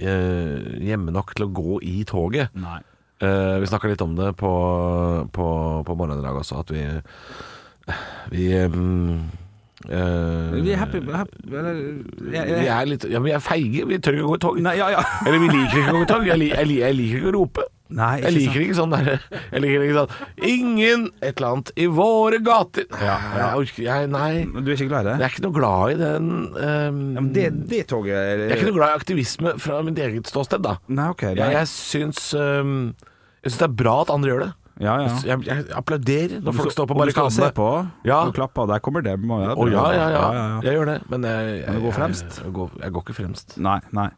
Speaker 3: eh, eh, hjemme nok til å gå i toget.
Speaker 4: Nei.
Speaker 3: Eh, vi snakka litt om det på, på, på morgenen i dag også, at vi Vi mm, eh,
Speaker 4: Vi er happy, happy eller, jeg,
Speaker 3: Vi er litt ja, men vi er feige. Vi tør ikke å gå i tog.
Speaker 4: Nei, ja, ja.
Speaker 3: Eller vi liker ikke å gå i tog. Jeg, li, jeg, li, jeg liker ikke å rope.
Speaker 4: Nei, ikke
Speaker 3: jeg liker ikke sånn derre Jeg liker ikke sånn Ingen et eller annet i våre gater. Jeg orker jeg, Nei.
Speaker 4: Du er ikke glad i
Speaker 3: Jeg
Speaker 4: det?
Speaker 3: er ikke noe glad i den ehm,
Speaker 4: Ja, men det, det toget er-
Speaker 3: Jeg er ikke noe glad i aktivisme fra mitt eget ståsted, da.
Speaker 4: Nei, OK. Nei.
Speaker 3: Jeg, jeg syns ehm, Jeg syns det er bra at andre gjør det.
Speaker 4: ja, ja.
Speaker 3: Jeg, jeg applauderer når folk står på
Speaker 4: Om du skal
Speaker 3: barrikadene.
Speaker 4: se på
Speaker 3: Ja.
Speaker 4: og klappe, der kommer det. Må jeg,
Speaker 3: Å ja, ja, ja,
Speaker 4: ja, ja.
Speaker 3: Jeg gjør det. Men jeg, jeg,
Speaker 4: Men du går
Speaker 3: jeg-
Speaker 4: fremst? Eh,
Speaker 3: Jeg, går, jeg går ikke fremst.
Speaker 4: Nei, nei.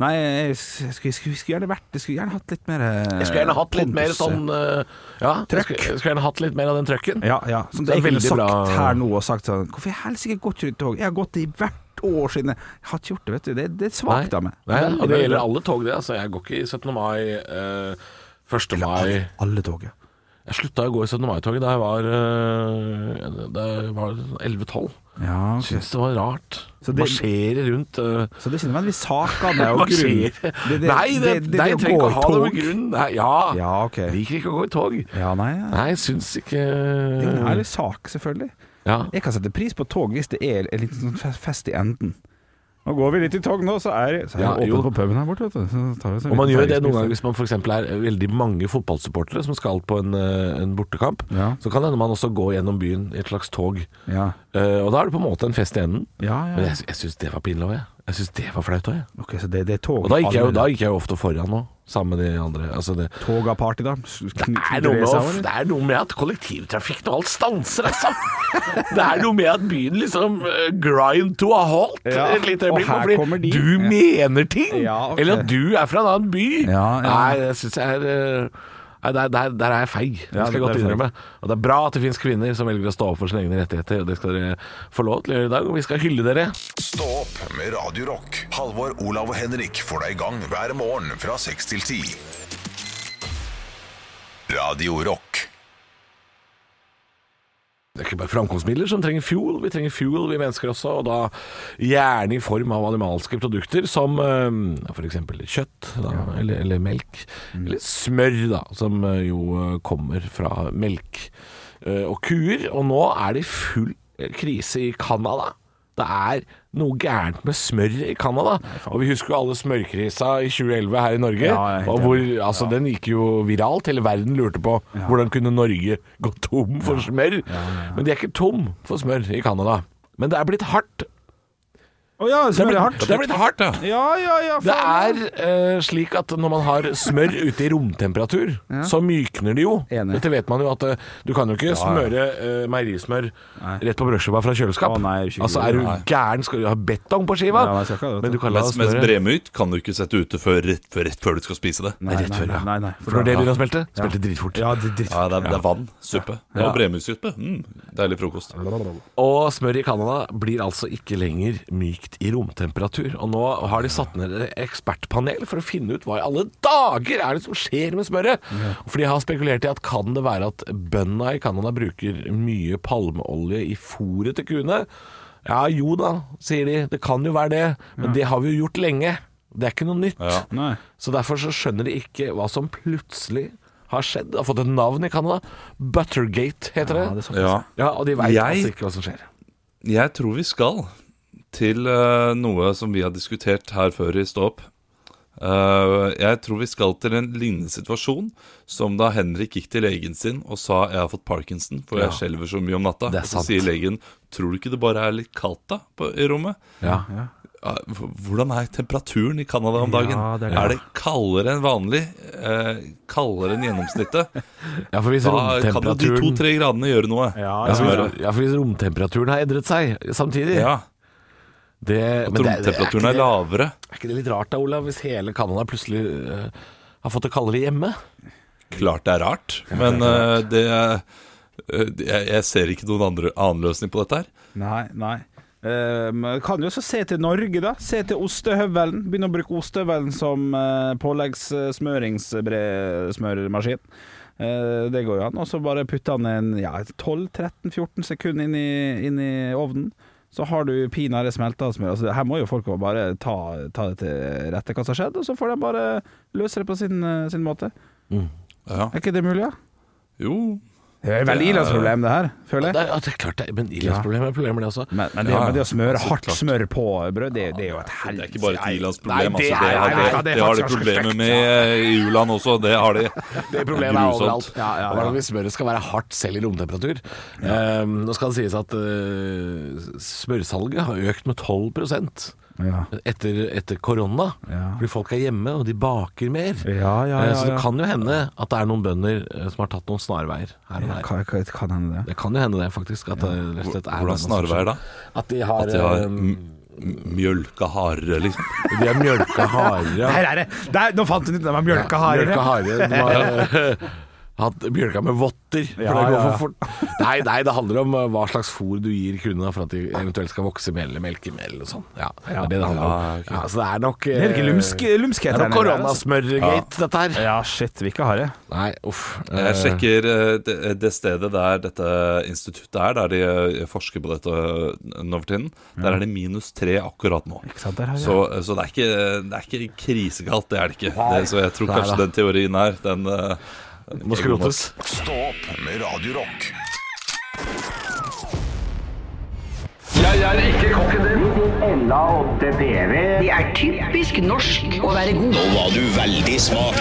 Speaker 4: Nei, jeg skulle, skulle, skulle, skulle gjerne vært Jeg skulle gjerne hatt litt mer eh,
Speaker 3: Jeg skulle gjerne hatt litt mer
Speaker 4: pondus.
Speaker 3: sånn eh, Ja, jeg skulle, jeg skulle gjerne hatt litt mer av den trøkken.
Speaker 4: Ja, ja. Som
Speaker 3: Det er
Speaker 4: jeg ville
Speaker 3: veldig
Speaker 4: sagt
Speaker 3: bra.
Speaker 4: her nå og sagt sånn Hvorfor i helsike går ikke du i tog? Jeg har gått i hvert år siden Jeg har ikke gjort det, vet du. Det, det er svakt av meg.
Speaker 3: Nei,
Speaker 4: Veldig,
Speaker 3: og det
Speaker 4: veldig
Speaker 3: gjelder
Speaker 4: bra.
Speaker 3: alle tog, det. Altså, jeg går ikke i 17. mai, eh, 1. mai
Speaker 4: Alle, alle toget.
Speaker 3: Jeg slutta å gå i 17. mai-toget da jeg var, eh, da jeg var 11-12.
Speaker 4: Ja, ok.
Speaker 3: Syns det var rart.
Speaker 4: Så det-
Speaker 3: Marsjere rundt. eh,
Speaker 4: Så det er ikke nødvendigvis
Speaker 3: <laughs>
Speaker 4: sakene og grunnen.
Speaker 3: marsjere. Nei, det, nei, jeg trenger
Speaker 4: å
Speaker 3: ikke
Speaker 4: gå
Speaker 3: å
Speaker 4: i
Speaker 3: ha det
Speaker 4: tog.
Speaker 3: med grunn. Nei, ja.
Speaker 4: Ja, ok.
Speaker 3: Liker ikke å gå i tog.
Speaker 4: Ja, nei. ja.
Speaker 3: Nei, syns ikke
Speaker 4: Det
Speaker 3: Mm.
Speaker 4: er en sak, selvfølgelig.
Speaker 3: ja.
Speaker 4: Jeg kan sette pris på tog hvis det er en liten sånn fe- fest i enden. Nå går vi litt i tog nå, så er, så er
Speaker 3: Ja,
Speaker 4: det
Speaker 3: jo.
Speaker 4: åpent på puben her borte, vet du. Så tar vi oss en
Speaker 3: Og man
Speaker 4: liten
Speaker 3: gjør det
Speaker 4: fergespis.
Speaker 3: noen ganger hvis man f.eks. er veldig mange fotballsupportere som skal på en, eh, en bortekamp.
Speaker 4: Ja.
Speaker 3: Så kan det hende man også går gjennom byen i et slags tog.
Speaker 4: Ja.
Speaker 3: Eh, og da er det på en måte en fest i enden.
Speaker 4: Ja,
Speaker 3: Men
Speaker 4: ja.
Speaker 3: jeg, jeg syns det var pinlig òg, jeg. Jeg syns det var flaut òg, jeg.
Speaker 4: Ok, så det, det er tog.
Speaker 3: Og da gikk jeg jo,
Speaker 4: alle-
Speaker 3: da gikk jeg jo ofte foran òg, sammen med de andre. Altså det,
Speaker 4: Tog av party, da?
Speaker 3: det, er noe med, å- det er noe med at kollektivtrafikken og alt stanser,
Speaker 4: <laughs>
Speaker 3: altså. det er noe med at byen liksom eh, grind to a halt
Speaker 4: Ja,
Speaker 3: et lite øyeblikk.
Speaker 4: og her kommer de.
Speaker 3: fordi du
Speaker 4: Ja.
Speaker 3: mener ting!
Speaker 4: Ja, ok.
Speaker 3: Eller at du er fra en annen by!
Speaker 4: Ja, ja.
Speaker 3: Nei, det syns jeg er eh, Nei, der, der, der er jeg feig, det
Speaker 4: Ja,
Speaker 3: skal jeg
Speaker 4: der
Speaker 3: godt
Speaker 4: er du feig.
Speaker 3: innrømme. Og Det er bra at det finnes kvinner som velger å stå opp for sine egne rettigheter, og det skal dere få lov til å gjøre i dag. Og vi skal hylle dere.
Speaker 1: Stå opp med Radio Rock. Halvor, Olav og Henrik får deg i gang hver morgen fra 6 til 10. Radio Rock.
Speaker 3: Det er ikke bare framkomstmidler som trenger fuel, vi trenger fuel vi mennesker også, og da gjerne i form av animalske produkter som eh, for eksempel kjøtt da, eller, eller melk, eller smør da, som eh, jo eh, kommer fra melk eh, og kuer. Og nå er det full eh, krise i Canada. Det er noe gærent med smør i Canada. Og vi husker jo alle smørkrisa i 2011 her i Norge.
Speaker 4: Ja, jeg er helt
Speaker 3: og hvor,
Speaker 4: enig.
Speaker 3: altså, Den gikk jo viralt. Hele verden lurte på hvordan kunne Norge gå tom for smør. Men de er ikke tom for smør i Canada. Men det er blitt hardt.
Speaker 4: Å ja,
Speaker 3: Det er
Speaker 4: smør er
Speaker 3: blitt,
Speaker 4: hardt.
Speaker 3: det er blitt hardt, ja.
Speaker 4: Ja, ja, ja.
Speaker 3: Det
Speaker 4: faen.
Speaker 3: er eh, slik at når man har smør ute i romtemperatur, så mykner det jo.
Speaker 4: Enig.
Speaker 3: Dette vet man jo at eh, du kan jo ikke smøre eh, meierismør rett på brødskiva fra kjøleskap.
Speaker 4: Å, nei, ikke
Speaker 3: altså
Speaker 4: gjør
Speaker 3: er
Speaker 4: det,
Speaker 3: du
Speaker 4: nei.
Speaker 3: gæren, skal du ha betong på skiva?
Speaker 4: Ja, nei, jeg skal ikke ha det, vet
Speaker 3: Men
Speaker 4: du.
Speaker 3: du kan la
Speaker 5: Mens, mens
Speaker 3: smøret
Speaker 5: bremyt kan du ikke sette ute før rett, før, rett før du skal spise det.
Speaker 4: Nei,
Speaker 3: rett
Speaker 4: nei,
Speaker 3: før, ja.
Speaker 4: nei, nei, for
Speaker 3: For når det
Speaker 4: da-
Speaker 3: begynner å smelte, smelter det dritfort.
Speaker 4: Ja, det er dritt.
Speaker 5: Ja, det er, det er vann, suppe og bremytsuppe. Mm, deilig frokost.
Speaker 3: Og smør i Canada blir altså ikke lenger mykt i romtemperatur. Og nå har de satt ned et ekspertpanel for å finne ut hva i alle dager er det som skjer med smøret. For de har spekulert i at kan det være at bøndene i Canada bruker mye palmeolje i fôret til kuene? Ja jo da, sier de. Det kan jo være det. Men det har vi jo gjort lenge. Det er ikke noe nytt.
Speaker 5: Ja.
Speaker 4: Nei.
Speaker 3: Så derfor så skjønner de ikke hva som plutselig har skjedd. Det har fått et navn i Canada. Buttergate heter det.
Speaker 5: Ja.
Speaker 3: Ja, og de veit
Speaker 5: Jeg-
Speaker 3: altså ikke hva som skjer.
Speaker 5: Jeg tror vi skal til eh, noe som vi har diskutert her før i Stå opp. Eh, jeg tror vi skal til en lignende situasjon som da Henrik gikk til legen sin og sa 'jeg har fått parkinson, for jeg skjelver så mye om natta'.
Speaker 3: Det er
Speaker 5: og så
Speaker 3: sant.
Speaker 5: sier legen 'tror du ikke det bare er litt kaldt da på, i rommet'? Ja, h- hvordan er temperaturen i Canada om dagen?
Speaker 4: Ja, det er
Speaker 5: er,
Speaker 4: det.
Speaker 5: det kaldere enn vanlig? Eh, kaldere enn gjennomsnittet?
Speaker 3: Ja, for hvis
Speaker 5: Da kan jo de
Speaker 3: romtemperaturen
Speaker 5: to-tre gradene gjøre noe.
Speaker 4: Ja,
Speaker 3: ja,
Speaker 4: ja,
Speaker 3: for,
Speaker 4: ja.
Speaker 3: ja, for hvis romtemperaturen har endret seg samtidig
Speaker 5: Ja,
Speaker 3: det,
Speaker 5: At
Speaker 3: men det- det-
Speaker 5: romtemperaturen
Speaker 3: er,
Speaker 5: er
Speaker 3: ikke
Speaker 5: lavere.
Speaker 3: det, er ikke det litt rart da, Olav, hvis hele Canada plutselig eh, har fått det kaldere hjemme?
Speaker 5: Klart det er rart, men eh, det er- eh, jeg, jeg ser ikke noen andre, annen løsning på dette her.
Speaker 4: Nei, nei. Eh, men kan jo også se til Norge, da. Se til ostehøvelen. Begynne å bruke ostehøvelen som uh, påleggssmøringsmaskin. Ehm, det går jo an. Og så bare putte han en ja, 12-13-14 sekunder inn i, inn i ovnen. Så har du pinadø smelta smør. Altså, her må jo folk bare ta, ta det til rette hva som har skjedd, og så får de bare løse det på sin, eh, sin måte.
Speaker 5: Ja.
Speaker 4: Er ikke det mulig, da?
Speaker 5: Jo,
Speaker 4: Det er et veldig ilandsproblem, det her, føler
Speaker 3: Det
Speaker 4: jeg.
Speaker 3: er, ja, det er klart det, er- men Irlandsproblemet er problemer, det også.
Speaker 4: Men, men, det,
Speaker 5: Ja, ja.
Speaker 4: men det å smøre hardt
Speaker 5: klart.
Speaker 4: smør på brød, det, det er jo et
Speaker 5: det er
Speaker 4: helvete.
Speaker 5: ikke bare et i-landsproblem.
Speaker 3: Nei, det
Speaker 5: Altså, det,
Speaker 3: er-
Speaker 5: har
Speaker 3: nei,
Speaker 5: de-
Speaker 3: det er
Speaker 5: det har
Speaker 3: faktisk
Speaker 5: de
Speaker 3: ganske
Speaker 5: problemer
Speaker 3: frekt,
Speaker 5: med eh, i u-land også. Det har de.
Speaker 3: <laughs> Det problemet er
Speaker 5: Grusomt.
Speaker 3: overalt.
Speaker 4: Ja, ja, ja.
Speaker 3: Og Hvordan hvis smøret skal være hardt selv i romtemperatur. Eh, nå skal det sies at eh, smørsalget har økt med 12
Speaker 4: Ja.
Speaker 3: etter, etter korona.
Speaker 4: Ja.
Speaker 3: Fordi folk er hjemme, og de baker mer.
Speaker 4: Ja, ja, ja,
Speaker 3: Eh, Så det
Speaker 4: ja.
Speaker 3: kan jo hende at det er noen bønder eh, som har tatt noen snarveier her og
Speaker 4: Ja,
Speaker 3: der.
Speaker 4: kan, kan, kan hende det.
Speaker 3: Det kan jo hende det, faktisk. At det rett og slett er
Speaker 5: Hvordan snarveier da?
Speaker 3: At de har,
Speaker 5: At de har
Speaker 3: eh,
Speaker 5: m- m- mjølka hardere, liksom.
Speaker 3: de har mjølka
Speaker 4: <laughs>
Speaker 3: hardere.
Speaker 4: Der er det! Der, nå fant hun ut det var mjølka
Speaker 3: Mjølka
Speaker 4: hardere.
Speaker 3: hardere. De har eh, <laughs> hatt mjølka med votter. For
Speaker 4: Ja,
Speaker 3: det går
Speaker 4: ja, ja.
Speaker 3: for fort. Nei, nei, det handler om eh, hva slags fôr du gir kundene for at de eventuelt skal vokse med eller melke med eller sånn. Ja, det er det det handler om.
Speaker 5: Ja, ok.
Speaker 3: Ja, så det er nok eh,
Speaker 4: Det er ikke lumsk,
Speaker 3: det
Speaker 4: lumskhet
Speaker 3: er
Speaker 4: her
Speaker 3: nok
Speaker 4: nede, altså.
Speaker 3: koronasmørgate, dette her.
Speaker 4: Ja, shit, vi er ikke harde.
Speaker 3: Nei, uff.
Speaker 5: Jeg
Speaker 3: Eh,
Speaker 5: sjekker eh, det, det stedet der dette instituttet er, der de eh, forsker på dette eh, nå for tiden.
Speaker 3: Mm.
Speaker 5: Der er det minus tre akkurat nå.
Speaker 4: sant, der har vi
Speaker 5: Så, eh, så det, er ikke, det er ikke krisekaldt, det er det ikke.
Speaker 3: Nei.
Speaker 5: Det, så jeg tror
Speaker 3: Nei
Speaker 5: kanskje
Speaker 3: da.
Speaker 5: den teorien her, den eh, den
Speaker 3: Må
Speaker 5: er god nok.
Speaker 3: skrotes.
Speaker 1: Stå opp med Radio Rock.
Speaker 9: Det er typisk norsk å være god. Nå var du veldig smak.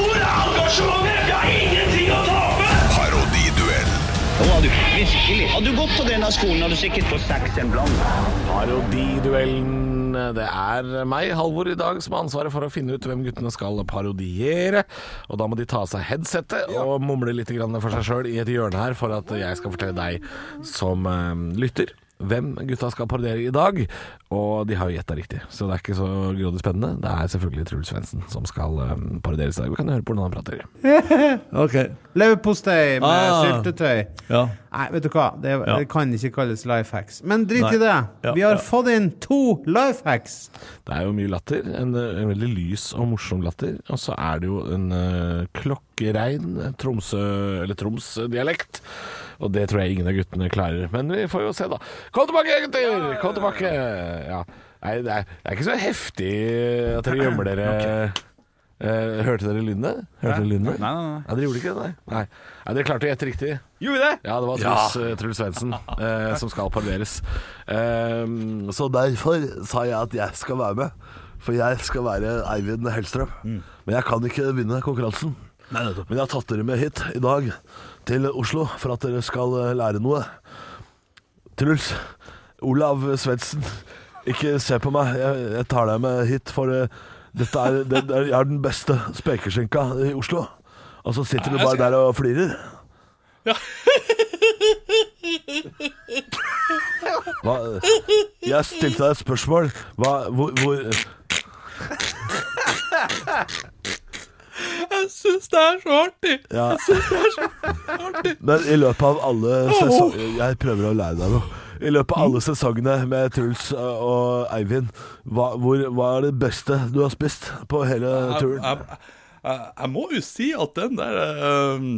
Speaker 10: Hvor er engasjementet? Jeg har ingenting å tape!
Speaker 1: Parodiduell.
Speaker 9: Nå var du virkelig. Hadde du gått på denne skolen, hadde du sikkert fått seks en blant.
Speaker 3: Parodiduellen. eh, Det er meg, Halvor, i dag som har ansvaret for å finne ut hvem guttene skal parodiere. Og da må de ta av seg headsettet og mumle litt grann for seg sjøl i et hjørne her, for at jeg skal fortelle deg som eh, lytter hvem gutta skal parodiere i dag. Og de har jo gjetta riktig, så det er ikke så grådig spennende. Det er selvfølgelig Truls Svendsen som skal eh, parodieres i dag. Vi kan høre på hvordan han prater.
Speaker 11: Leverpostei med syltetøy. Nei, vet du hva, det, det kan ikke kalles life hacks. Men drit i det. Vi har fått inn to life hacks.
Speaker 3: Det er jo mye latter. En, eh, en veldig lys og morsom latter. Og så er det jo en eh, klokkerein Tromsø- eller Troms-dialekt. Og det tror jeg ingen av guttene klarer. Men vi får jo se, da. Kom tilbake, gutter! Kom tilbake! Ja. Nei, det er, det er ikke så heftig at dere gjemmer dere. Eh, hørte dere lydene? Hørte dere
Speaker 4: Nei.
Speaker 3: lydene?
Speaker 4: Nei, nei, nei.
Speaker 3: Ja, dere gjorde ikke det, nei. nei. Nei, Dere klarte å gjette riktig.
Speaker 4: Gjorde vi det?
Speaker 3: Ja, det var Truls, eh, Truls Svendsen eh, som skal parodieres. Eh, så derfor sa jeg at jeg skal være med. For jeg skal være Eivind Hellstrøm. Men jeg kan ikke vinne konkurransen. Men jeg har tatt dere med hit i dag til Oslo for at dere skal eh, lære noe. Truls, Olav Svendsen, ikke se på meg. Jeg, jeg tar deg med hit, for eh, dette er, det, det er, jeg er den beste spekeskinka i Oslo. Og så sitter du bare der og flirer. Hva, jeg stilte deg et spørsmål. Hva, hvor, hvor
Speaker 5: Jeg syns det er så artig!
Speaker 3: Ja.
Speaker 5: Jeg syns det er så artig!
Speaker 3: Men i løpet av alle sesonger Jeg prøver å lære deg noe. I løpet av alle sesongene med Truls og Eivind, hva, hvor, hva er det beste du har spist på hele
Speaker 5: Jeg,
Speaker 3: turen?
Speaker 5: jeg, jeg, jeg må jo si at den der ehm,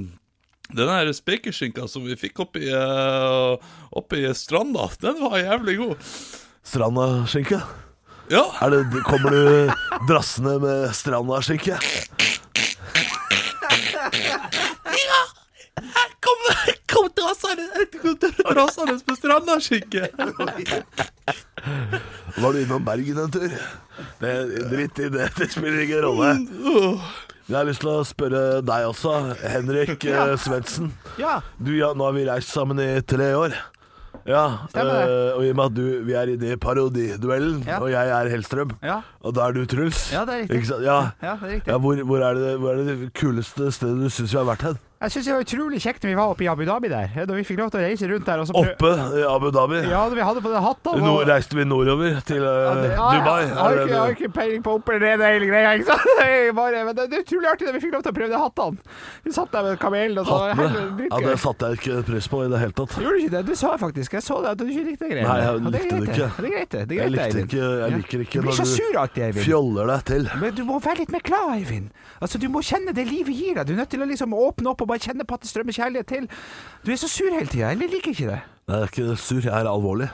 Speaker 5: Den der spekeskinka som vi fikk oppi, uh, oppi stranda, den var jævlig god.
Speaker 3: Strandaskinke?
Speaker 5: Ja.
Speaker 3: Er det, kommer du drassende med strandaskinke?
Speaker 5: Ja! Her kom, kom drassende på stranda, skinke!
Speaker 3: Var du innom Bergen en tur? Det, dritt i det, det spiller ingen rolle. Jeg har lyst til å spørre deg også, Henrik eh, Svendsen.
Speaker 11: Ja.
Speaker 3: Du, ja, nå har vi reist sammen i tre år. Ja,
Speaker 11: Stemmer det.
Speaker 3: eh, og i og med at du, vi er inne i parodiduellen,
Speaker 11: Ja.
Speaker 3: og jeg er Hellstrøm,
Speaker 11: Ja.
Speaker 3: og da er du Truls.
Speaker 11: Ja, det er riktig.
Speaker 3: Ikke sant? Ja.
Speaker 11: Ja, det er riktig.
Speaker 3: Ja, hvor, hvor, er det, hvor er det kuleste stedet du syns vi har vært hen?
Speaker 11: Jeg syns det var utrolig kjekt når vi var oppe i Abu Dhabi der. Da vi fikk lov til å reise rundt der og så prøv-
Speaker 3: Oppe i Abu Dhabi.
Speaker 11: Ja, da vi hadde på den hatta.
Speaker 3: Nå reiste vi nordover til eh, Dubai.
Speaker 11: Jeg har
Speaker 3: Er det
Speaker 11: ikke, jeg har
Speaker 3: det?
Speaker 11: ikke peiling på opp eller ned og hele greia. Ikke
Speaker 4: <laughs>
Speaker 11: sant? Det er Bare, men det, det er utrolig artig da vi fikk lov til å prøve de hattene. Vi satt der med kamelen og så
Speaker 4: sånn.
Speaker 11: var det
Speaker 3: Hattene. Ja,
Speaker 11: helt
Speaker 3: det
Speaker 11: dritgøy.
Speaker 3: satte jeg ikke pris på i det hele tatt.
Speaker 11: Gjorde du ikke det? Du sa faktisk Jeg så det at du ikke likte greia.
Speaker 3: Nei, jeg
Speaker 11: Og
Speaker 3: likte
Speaker 11: er
Speaker 3: det
Speaker 11: greit,
Speaker 3: ikke.
Speaker 11: Det er greit, det. det er
Speaker 3: Jeg
Speaker 11: greit,
Speaker 3: likte
Speaker 11: Eivind.
Speaker 3: ikke, jeg
Speaker 11: Ja.
Speaker 3: liker ikke
Speaker 11: Du blir
Speaker 3: når
Speaker 11: så
Speaker 3: du
Speaker 11: sur alltid, Eivind.
Speaker 3: fjoller deg til.
Speaker 11: Men du må være litt mer glad, Eivind. Altså, Du må kjenne det livet gir deg. Du er nødt til å liksom åpne opp og bare kjenne på at det strømmer kjærlighet til. Du er så sur hele tida. Jeg liker ikke det.
Speaker 3: Nei, jeg er ikke sur, jeg er alvorlig.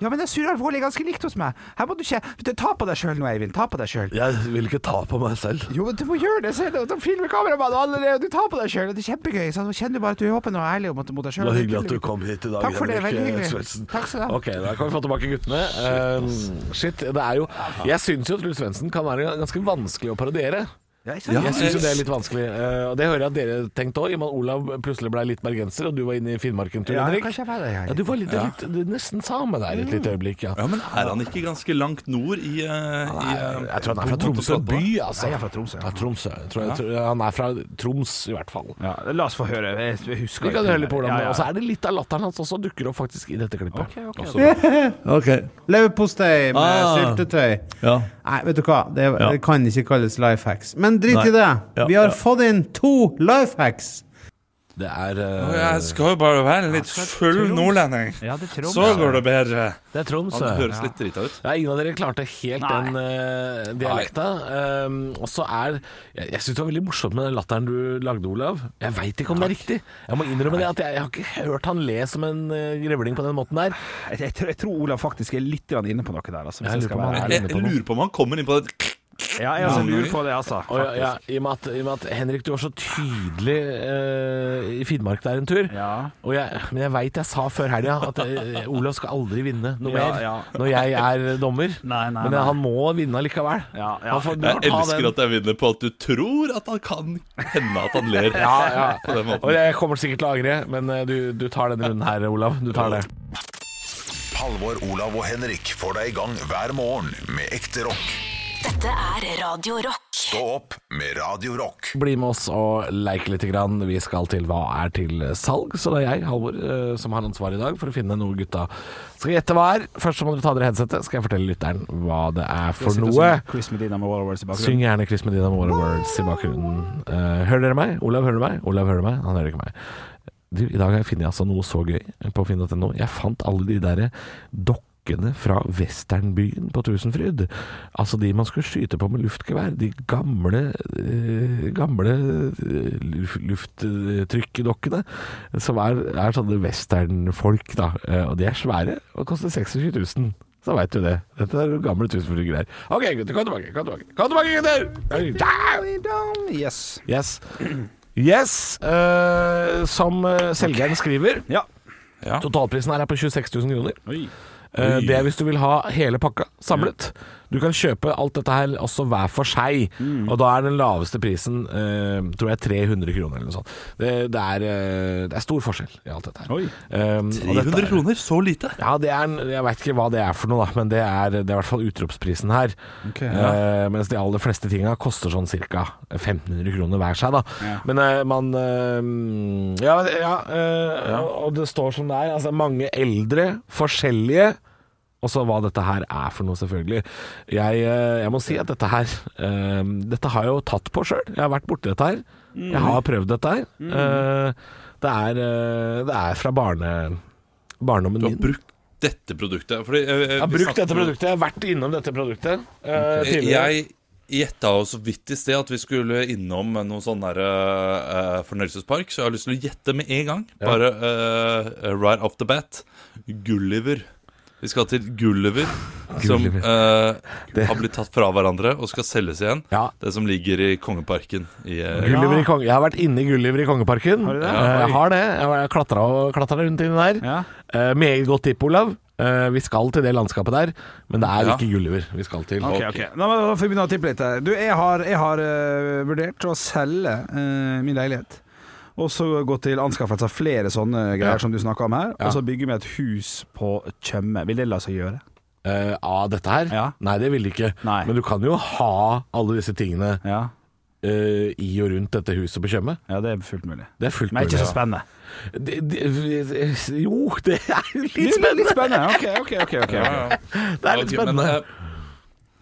Speaker 11: Ja, men det er sur og alvorlig ganske likt hos meg. Her må du ikke Ta på deg sjøl nå, Eivind. Ta på deg sjøl.
Speaker 3: Jeg vil ikke ta på meg selv.
Speaker 11: Jo, men du må gjøre det! Se, da filmer kameramannen og alle det, og du tar på deg sjøl. Det er kjempegøy. ikke sant? Nå kjenner du bare at du er åpen og ærlig mot, mot deg
Speaker 3: Det
Speaker 11: sjøl.
Speaker 3: var hyggelig at du kom hit i dag.
Speaker 11: Takk for det,
Speaker 3: Henrik,
Speaker 11: veldig
Speaker 3: eh,
Speaker 11: hyggelig.
Speaker 3: Svendsen.
Speaker 11: Takk skal du ha.
Speaker 3: Ok, da kan vi få tilbake guttene. Eh, shit, det er jo Jeg syns jo Truls Svendsen kan være ganske vanskelig å parodiere.
Speaker 11: Ja, ikke
Speaker 3: Jeg
Speaker 11: sant?
Speaker 3: syns jo det er litt vanskelig. eh, Og det hører jeg at dere tenkte òg, i og med at Olav plutselig ble litt bergenser, og du var inne i Finnmarken tur,
Speaker 11: Ja,
Speaker 3: Henrik.
Speaker 11: kanskje jeg var det, jeg.
Speaker 3: Ja, du var litt, litt, nesten same der et lite øyeblikk, ja.
Speaker 5: Ja, men er han ikke ganske langt nord i, eh, i eh,
Speaker 3: Jeg tror han er fra
Speaker 5: på en måte
Speaker 3: Tromsø by, altså.
Speaker 11: Nei, jeg er fra Tromsø, ja.
Speaker 3: Ja, Tromsø. Jeg tror jeg, tror- han er fra Troms, i hvert fall.
Speaker 4: Ja, la oss få høre. Jeg husker
Speaker 3: Vi kan høre litt på hvordan
Speaker 4: Ja,
Speaker 3: det
Speaker 4: ja.
Speaker 3: Og så er det litt av latteren hans også dukker opp faktisk i dette klippet.
Speaker 5: Ok.
Speaker 11: Leverpostei
Speaker 5: med Ah.
Speaker 11: syltetøy.
Speaker 5: Ja.
Speaker 11: Nei, vet du hva, det,
Speaker 5: Ja. det
Speaker 11: kan ikke kalles life hacks. Men drit
Speaker 5: Nei. i det. Ja, Vi har ja.
Speaker 11: fått inn to life hacks.
Speaker 3: Det er
Speaker 5: Og
Speaker 3: eh,
Speaker 5: Jeg skal jo bare være litt full nordlending.
Speaker 4: Ja, det tror
Speaker 5: Så
Speaker 4: jeg.
Speaker 5: går det bedre.
Speaker 3: Det er Troms.
Speaker 5: Han
Speaker 3: Ja.
Speaker 5: høres litt drita ut.
Speaker 3: Ja, ingen av dere klarte helt den eh, dialekta. Um, og så er Jeg, jeg syns det var veldig morsomt med den latteren du lagde, Olav. Jeg veit ikke om det er riktig. Jeg må innrømme det at jeg, jeg har ikke hørt han le som en eh, grevling på den måten der.
Speaker 4: Jeg, jeg, tror- jeg tror Olav faktisk er litt grann inne på noe der. Altså, hvis
Speaker 3: Jeg
Speaker 4: jeg
Speaker 3: lurer
Speaker 4: skal
Speaker 3: på om
Speaker 4: være
Speaker 3: han er
Speaker 4: ærlig.
Speaker 5: Jeg, jeg lurer på om han kommer inn på det
Speaker 4: Ja, jeg også lurer på det, altså.
Speaker 3: Og, ja, ja, i, og med at, I og med at Henrik, du var så tydelig eh, i Finnmark der en tur.
Speaker 4: Ja.
Speaker 3: Og jeg, men jeg veit jeg sa før helga at eh, Olav skal aldri vinne noe
Speaker 4: Ja,
Speaker 3: mer
Speaker 4: ja.
Speaker 3: når jeg er dommer.
Speaker 4: Nei, nei,
Speaker 3: men
Speaker 4: nei.
Speaker 3: han må vinne likevel.
Speaker 4: Ja, ja.
Speaker 3: Han får, du får
Speaker 5: Jeg
Speaker 3: ta den.
Speaker 5: elsker at jeg vinner på at du tror at han kan hende at han ler.
Speaker 3: <laughs> Ja, ja.
Speaker 5: På den
Speaker 3: Og
Speaker 5: måten.
Speaker 3: jeg kommer sikkert til å angre, men eh, du, du tar denne runden her, Olav. Du tar det.
Speaker 1: Halvor, Olav og Henrik får deg i gang hver morgen med ekte rock.
Speaker 2: Dette er Radio Rock.
Speaker 1: Stå opp med Radio Rock.
Speaker 3: Bli med oss og leik litt. Grann. Vi skal til Hva er til salg? Så det er jeg, Halvor, eh, som har ansvaret i dag for å finne noe gutta skal gjette hva er. Først så må dere ta dere headsetet, skal jeg fortelle lytteren hva det er for noe.
Speaker 4: Chris Medina med Wall of Words i
Speaker 3: Syng
Speaker 4: bakgrunnen.
Speaker 3: gjerne Chris Medina med Water Words i bakgrunnen. Eh, hører dere meg? Olav hører meg? Olav hører meg? Han hører ikke meg. Du, I dag har jeg funnet altså noe så gøy på finn.no. Jeg fant alle de der dokkene fra westernbyen på Tusenfryd. Altså de man skulle skyte på med luftgevær. De gamle, eh, gamle eh, luf- lufttrykkedokkene. Som er, er sånne westernfolk, da. Eh, og de er svære og koster 26 000. Så veit du det. Dette er gamle tusenfryd greier. OK, gutter, kom tilbake. Kom tilbake, kom tilbake gutter!
Speaker 4: Yes.
Speaker 3: Yes. Yes, eh, som eh, selgeren skriver.
Speaker 4: Ja.
Speaker 5: Ja.
Speaker 3: Totalprisen her er på 26 000 kroner.
Speaker 4: Oi.
Speaker 3: Eh, Det er hvis du vil ha hele pakka samlet. Du kan kjøpe alt dette her også hver for seg,
Speaker 4: Mm.
Speaker 3: og da er den laveste prisen eh, tror jeg 300 kroner eller noe sånt. Det, det, er, eh, det er stor forskjell i alt dette her.
Speaker 4: Oi.
Speaker 3: Eh, og dette er-
Speaker 5: 300 kroner, så lite?
Speaker 3: ja, det er, en- jeg veit ikke hva det er for noe, da, men det er, det er i hvert fall utropsprisen her. Eh, mens de aller fleste tinga koster sånn ca. 1500 kroner hver seg, da. Men eh, man eh, Ja, ja, eh, og det står som det er. Altså, mange eldre, forskjellige. Og så hva dette her er for noe, selvfølgelig. Jeg, eh, jeg må si at dette her eh, Dette har jeg jo tatt på sjøl. Jeg har vært borti dette her. Jeg
Speaker 5: Mm.
Speaker 3: har prøvd dette her. Eh, det, er, eh, det er fra barne, barndommen
Speaker 5: Du har
Speaker 3: min.
Speaker 5: brukt dette produktet. Fordi, eh, eh,
Speaker 3: Jeg har
Speaker 5: vi
Speaker 3: brukt
Speaker 5: snakket
Speaker 3: dette
Speaker 5: om-
Speaker 3: produktet, jeg har vært innom dette produktet eh, tidligere.
Speaker 5: Jeg gjetta jo så vidt i sted at vi skulle innom noen sånn der eh, fornøyelsespark, så jeg har lyst til å gjette med en gang. Bare eh, right off the bat. Gulliver. Vi skal til Gulliver, som
Speaker 3: Gulliver.
Speaker 5: eh, har blitt tatt fra hverandre og skal selges igjen.
Speaker 3: Ja.
Speaker 5: Det som ligger i Kongeparken. I, eh,
Speaker 3: Gulliver i Kong- jeg har vært inne i Gulliver i Kongeparken. Har
Speaker 4: du det?
Speaker 3: Jeg har det. Jeg har klatra og klatra rundt inni der.
Speaker 4: Ja.
Speaker 3: Eh, meget godt tipp, Olav. Eh, vi skal til det landskapet der, men det er
Speaker 5: Ja.
Speaker 3: ikke Gulliver vi skal til.
Speaker 4: Ok, ok. Nå må da får vi begynne å tippe litt her. Du, jeg har, jeg har eh, vurdert å selge eh, min leilighet. Og så gå til anskaffelse av flere sånne greier
Speaker 3: Ja.
Speaker 4: som du snakka om her.
Speaker 3: Ja.
Speaker 4: Og så bygge vi et hus på Tjøme. Vil det la seg gjøre?
Speaker 3: Eh, av dette her?
Speaker 4: Ja.
Speaker 3: Nei, det vil de ikke.
Speaker 4: Nei.
Speaker 3: Men du kan jo ha alle disse tingene
Speaker 4: Ja,
Speaker 3: eh, i og rundt dette huset på Tjøme.
Speaker 4: ja det er fullt mulig.
Speaker 3: Det er fullt
Speaker 4: Men det er ikke så
Speaker 3: ja.
Speaker 4: spennende.
Speaker 3: Det- det- Jo, det er litt
Speaker 4: Litt,
Speaker 3: spennende.
Speaker 4: litt spennende. Ok, ok, ok. ok, ok.
Speaker 3: Det er litt
Speaker 5: Ok,
Speaker 3: spennende.
Speaker 5: Men, eh,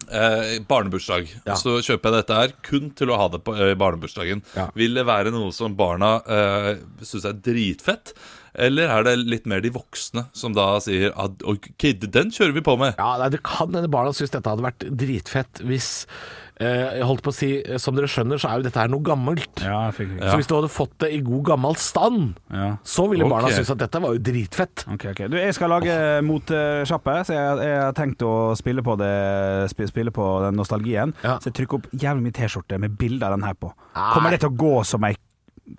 Speaker 5: eh, barnebursdag.
Speaker 3: Ja.
Speaker 5: Så kjøper jeg dette her kun til å ha det på eh, barnebursdagen.
Speaker 3: Ja.
Speaker 5: Vil det være noe som barna eh, syns er dritfett? Eller er det litt mer de voksne som da sier at OK, den kjører vi på med.
Speaker 3: Ja, nei, Det kan hende barna syns dette hadde vært dritfett hvis eh, Jeg holdt på å si, eh, som dere skjønner, så er jo dette her noe gammelt.
Speaker 4: Ja, jeg fikk det.
Speaker 3: Så hvis du hadde fått det i god gammel stand,
Speaker 4: Ja.
Speaker 3: så ville barna
Speaker 5: Ok.
Speaker 3: synes at dette var jo dritfett.
Speaker 4: Ok, ok. Du, jeg skal lage motesjappe, så jeg, jeg har tenkt å spille på, det, sp- spille på den nostalgien.
Speaker 3: Ja.
Speaker 4: Så jeg trykker opp jævlig mye T-skjorte med bilde av den her på.
Speaker 3: Nei.
Speaker 4: Kommer det til å gå som ei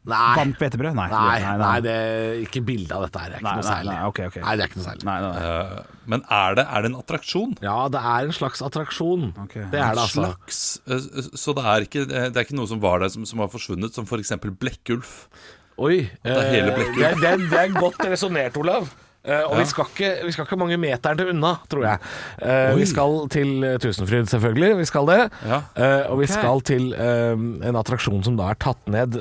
Speaker 3: Nei,
Speaker 4: vamp hvetebrød? Nei.
Speaker 3: nei, nei det er ikke bilde av dette her. Det er ikke
Speaker 4: Nei,
Speaker 3: noe
Speaker 4: nei,
Speaker 3: særlig.
Speaker 4: nei, ok, ok.
Speaker 3: Nei, det er ikke noe særlig.
Speaker 4: Nei, nei, nei.
Speaker 5: Eh, men er det, er det en attraksjon?
Speaker 3: Ja, det er en slags attraksjon.
Speaker 4: Ok.
Speaker 3: Det er det, altså.
Speaker 5: Slags, eh, så det er, ikke, eh, det er ikke noe som var der som, som har forsvunnet, som f.eks. Blekkulf.
Speaker 3: Oi.
Speaker 5: er
Speaker 3: eh,
Speaker 5: hele
Speaker 3: det,
Speaker 5: blekket.
Speaker 3: er- det, er- det er godt resonnert, Olav. Eh, og vi, skal ikke, vi skal ikke mange meterne til unna, tror jeg. Eh, vi skal til eh, Tusenfryd, selvfølgelig. Vi skal det.
Speaker 5: Ja.
Speaker 3: Eh, og vi skal til eh, en attraksjon som da er tatt ned.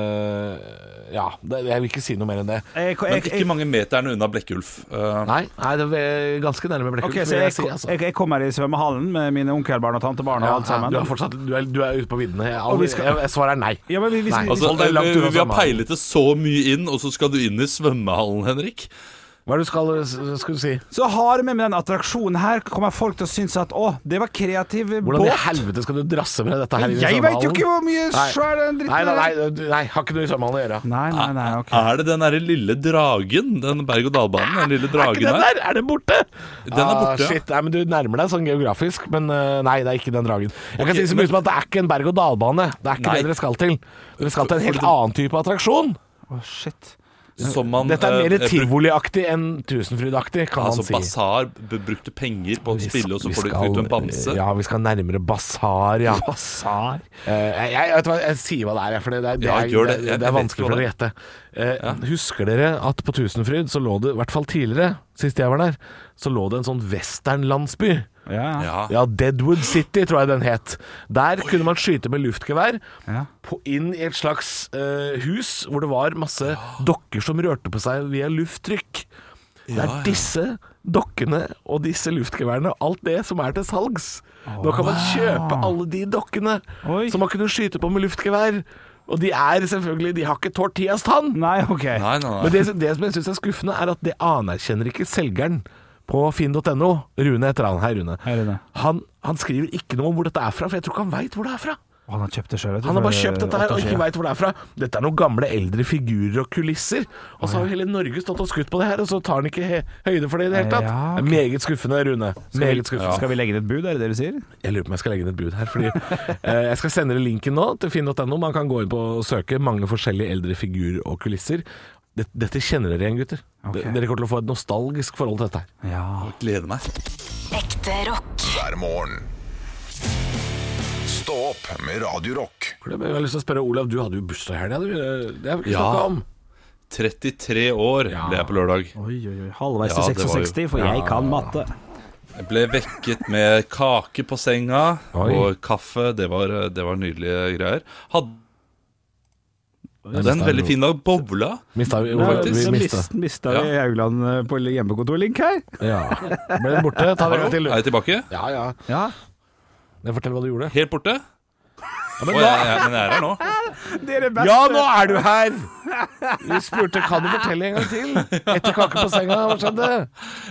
Speaker 3: eh, ja, det, jeg vil ikke si noe mer enn det.
Speaker 4: Jeg,
Speaker 5: Men
Speaker 4: jeg, jeg,
Speaker 5: ikke mange meterne unna Blekkulf. Eh,
Speaker 3: Nei, nei det er ganske nærme blekket.
Speaker 4: ok, så jeg,
Speaker 3: altså.
Speaker 4: jeg, jeg kommer i svømmehallen med mine onkelbarn og tantebarn og alt sammen.
Speaker 3: du, er fortsatt, du, er, du er ute på viddene. Jeg,
Speaker 4: Og vi
Speaker 3: aldri-
Speaker 4: skal-
Speaker 3: jeg, jeg svarer nei.
Speaker 4: Ja, men vi- hvis
Speaker 3: Nei. eh,
Speaker 4: vi-
Speaker 5: Altså,
Speaker 3: Det er langt
Speaker 5: vi,
Speaker 3: unna
Speaker 5: vi har
Speaker 3: svømmehallen.
Speaker 5: peilet det så mye inn, og så skal du inn i svømmehallen, Henrik.
Speaker 3: Hva er det du skal, skal du si?
Speaker 4: Så har vi med den attraksjonen her, kommer folk til å synes at å, det var kreativ
Speaker 3: Hvordan i
Speaker 4: båt.
Speaker 3: helvete skal du drasse med dette her? inn i
Speaker 4: Jeg veit jo
Speaker 3: svømmehallen?
Speaker 4: ikke hvor mye
Speaker 3: Nei.
Speaker 4: svær den
Speaker 3: Nei,
Speaker 4: dritten
Speaker 3: nei,
Speaker 4: er.
Speaker 3: nei, du- nei, har ikke noe i svømmehallen å gjøre.
Speaker 4: Nei, nei, nei, ok.
Speaker 5: Er det den derre lille dragen? Den berg-og-dal-banen? Den lille
Speaker 3: Er ikke
Speaker 5: dragen
Speaker 3: den
Speaker 5: her?
Speaker 3: der? Er den borte?
Speaker 5: Den er borte, ja.
Speaker 3: Ah, shit. Nei, men Du nærmer deg sånn geografisk, men eh, nei, det er ikke den dragen. Jeg kan si så mye som at det er ikke en berg- og dalbane. Det er ikke
Speaker 5: Nei.
Speaker 3: det dere skal til. Dere skal til en helt
Speaker 5: For- for-
Speaker 3: annen type attraksjon.
Speaker 4: Å, shit.
Speaker 5: Som man
Speaker 3: Dette er
Speaker 5: eh,
Speaker 3: mer
Speaker 5: bruk-
Speaker 3: tivoliaktig enn tusenfrydaktig, kan
Speaker 5: Altså
Speaker 3: man si.
Speaker 5: basar, b- brukte penger på å
Speaker 3: Vi
Speaker 5: spille, og så
Speaker 3: vi
Speaker 5: får du
Speaker 3: skal-
Speaker 5: ut en bamse.
Speaker 3: Ja, vi skal nærmere basar, ja. Basar? jeg, jeg, vet du hva, jeg sier hva det er, jeg, for det, det, er- det,
Speaker 5: Ja,
Speaker 3: er-
Speaker 5: gjør det.
Speaker 3: det,
Speaker 5: Jeg-
Speaker 3: det er
Speaker 5: jeg vet
Speaker 3: vanskelig
Speaker 5: hva
Speaker 3: for dere å
Speaker 5: det
Speaker 3: gjette. Eh, Husker dere at på Tusenfryd så lå det, i hvert fall tidligere, sist jeg var der, så lå det en sånn westernlandsby.
Speaker 4: Ja, ja.
Speaker 5: Ja.
Speaker 3: Ja, Deadwood City tror jeg den het. Der kunne man skyte med luftgevær
Speaker 4: Ja.
Speaker 3: på, inn i et slags eh, hus hvor det var masse dokker som rørte på seg via lufttrykk. Det er
Speaker 5: ja.
Speaker 3: disse dokkene og disse luftgeværene og alt det som er til salgs. Nå kan man kjøpe alle de dokkene
Speaker 4: Oi.
Speaker 3: som man kunne skyte på med luftgevær. Og de er selvfølgelig De har ikke Tortillas tann.
Speaker 4: Nei, ok.
Speaker 5: Nei, nei,
Speaker 3: Men
Speaker 5: nei.
Speaker 3: det, det som jeg syns er skuffende, er at det anerkjenner ikke selgeren på finn.no. Rune heter han. Hei, Rune.
Speaker 4: Hei, Rune.
Speaker 3: Han, han skriver ikke noe om hvor dette er fra, for jeg tror ikke han veit hvor det er fra.
Speaker 4: Og han har kjøpt det sjøl.
Speaker 3: Han har bare kjøpt dette her og ikke veit hvor det er fra. Dette er noen gamle, eldre figurer og kulisser. Og så har jo hele Norge stått og skutt på det her, og så tar han ikke he høyde for det i det hele tatt.
Speaker 4: Ja, ok.
Speaker 3: Det er Meget skuffende, Rune. Meget skuffende.
Speaker 4: Skal vi legge inn et bud, er det det du sier?
Speaker 3: Jeg lurer på om jeg skal legge inn et bud her. Fordi eh, Jeg skal sende dere linken nå til finn.no. Man kan gå inn på og søke mange forskjellige eldre figurer og kulisser. Dette, dette kjenner dere igjen, gutter.
Speaker 4: Ok.
Speaker 3: Dere kommer til å få et nostalgisk forhold til dette. her
Speaker 4: Ja.
Speaker 5: Gleder meg.
Speaker 2: Ekte rock.
Speaker 1: hver morgen. Stå opp med Radio Rock.
Speaker 3: Jeg har lyst til å spørre Olav, du hadde jo bursdag i helga. du. Det har vi ikke
Speaker 5: Ja.
Speaker 3: snakka om.
Speaker 5: 33 år
Speaker 3: Ja.
Speaker 5: ble jeg på lørdag.
Speaker 4: Oi, oi, oi. Halvveis
Speaker 5: Ja,
Speaker 4: til
Speaker 5: det var jo-
Speaker 4: 66, for jeg kan matte.
Speaker 5: Jeg ble vekket med kake på senga
Speaker 3: Oi.
Speaker 5: og kaffe. Det var, det var nydelige greier. Hadde en veldig fin dag. Bobla.
Speaker 3: Mista vi,
Speaker 4: Ja,
Speaker 5: faktisk.
Speaker 3: vi
Speaker 4: så
Speaker 3: mista.
Speaker 4: mist- mista vi Haugland eh, på hjemmekontor, Link her? <laughs>
Speaker 3: Ja. Ble den borte? Ta det en gang
Speaker 5: Er
Speaker 3: til. du.
Speaker 5: jeg tilbake?
Speaker 3: Ja, ja.
Speaker 4: Ja.
Speaker 3: Men Fortell hva du gjorde.
Speaker 5: Helt borte?
Speaker 3: Ja, men da,
Speaker 5: Å, jeg, jeg, men jeg er her nå.
Speaker 4: Dere best. eh,
Speaker 3: ja, nå er du her! Vi spurte kan du fortelle en gang til. Etter kake på senga, hva skjedde?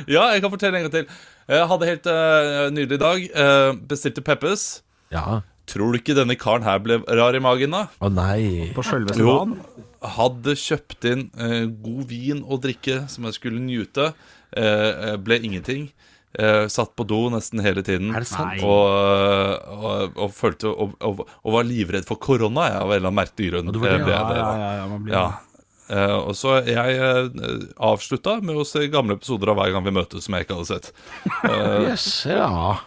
Speaker 5: Ja, jeg kan fortelle en gang til. Jeg hadde helt eh, nydelig dag. Eh, bestilte Peppes.
Speaker 3: Ja.
Speaker 5: Tror du ikke denne karen her ble rar i magen, da?
Speaker 3: Å nei.
Speaker 4: På sjølveste
Speaker 5: Jo.
Speaker 4: dagen.
Speaker 5: Hadde kjøpt inn eh, god vin og drikke som jeg skulle njute. Eh, eh, ble ingenting. Eh, satt på do nesten hele tiden.
Speaker 3: Er det sant?
Speaker 5: Og, eh, og, og følte og, og, og var livredd for korona, jeg, av en eller annen merkelig grunn.
Speaker 3: du var det,
Speaker 5: Eh, ble jeg
Speaker 4: Ja,
Speaker 5: det,
Speaker 4: ja,
Speaker 5: da.
Speaker 4: ja, ja, man blir
Speaker 5: Ja. Eh, og så jeg eh, avslutta med å se gamle episoder av Hver gang vi møtes, som jeg ikke hadde sett.
Speaker 3: Yes, ja.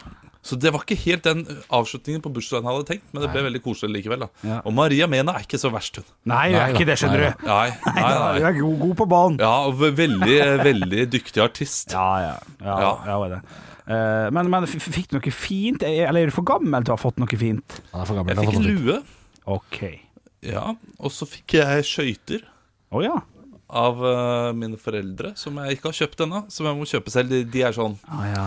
Speaker 5: Så det var ikke helt den avslutningen på bursdagen jeg hadde tenkt, men det ble veldig koselig likevel. da
Speaker 4: Ja.
Speaker 5: Og Maria Mena er ikke så verst, hun.
Speaker 4: Nei, jeg er ikke det, skjønner du.
Speaker 5: Nei, nei,
Speaker 4: Du
Speaker 5: nei.
Speaker 4: er god, god på ballen.
Speaker 5: Ja, og ve- veldig, eh, veldig dyktig artist.
Speaker 4: Ja, ja. ja, ja.
Speaker 5: Ja.
Speaker 4: var det. Eh, men, men f- fikk du noe fint? Eh, Eller er du for gammel til å ha fått noe fint?
Speaker 3: Han er for gammel.
Speaker 5: Jeg
Speaker 3: til å
Speaker 5: fikk
Speaker 3: få sånt.
Speaker 5: lue,
Speaker 4: OK.
Speaker 5: ja, og så fikk jeg skøyter
Speaker 4: Å ja.
Speaker 5: av eh, mine foreldre, som jeg ikke har kjøpt ennå. Som jeg må kjøpe selv. De, de er sånn
Speaker 4: Ah, ja.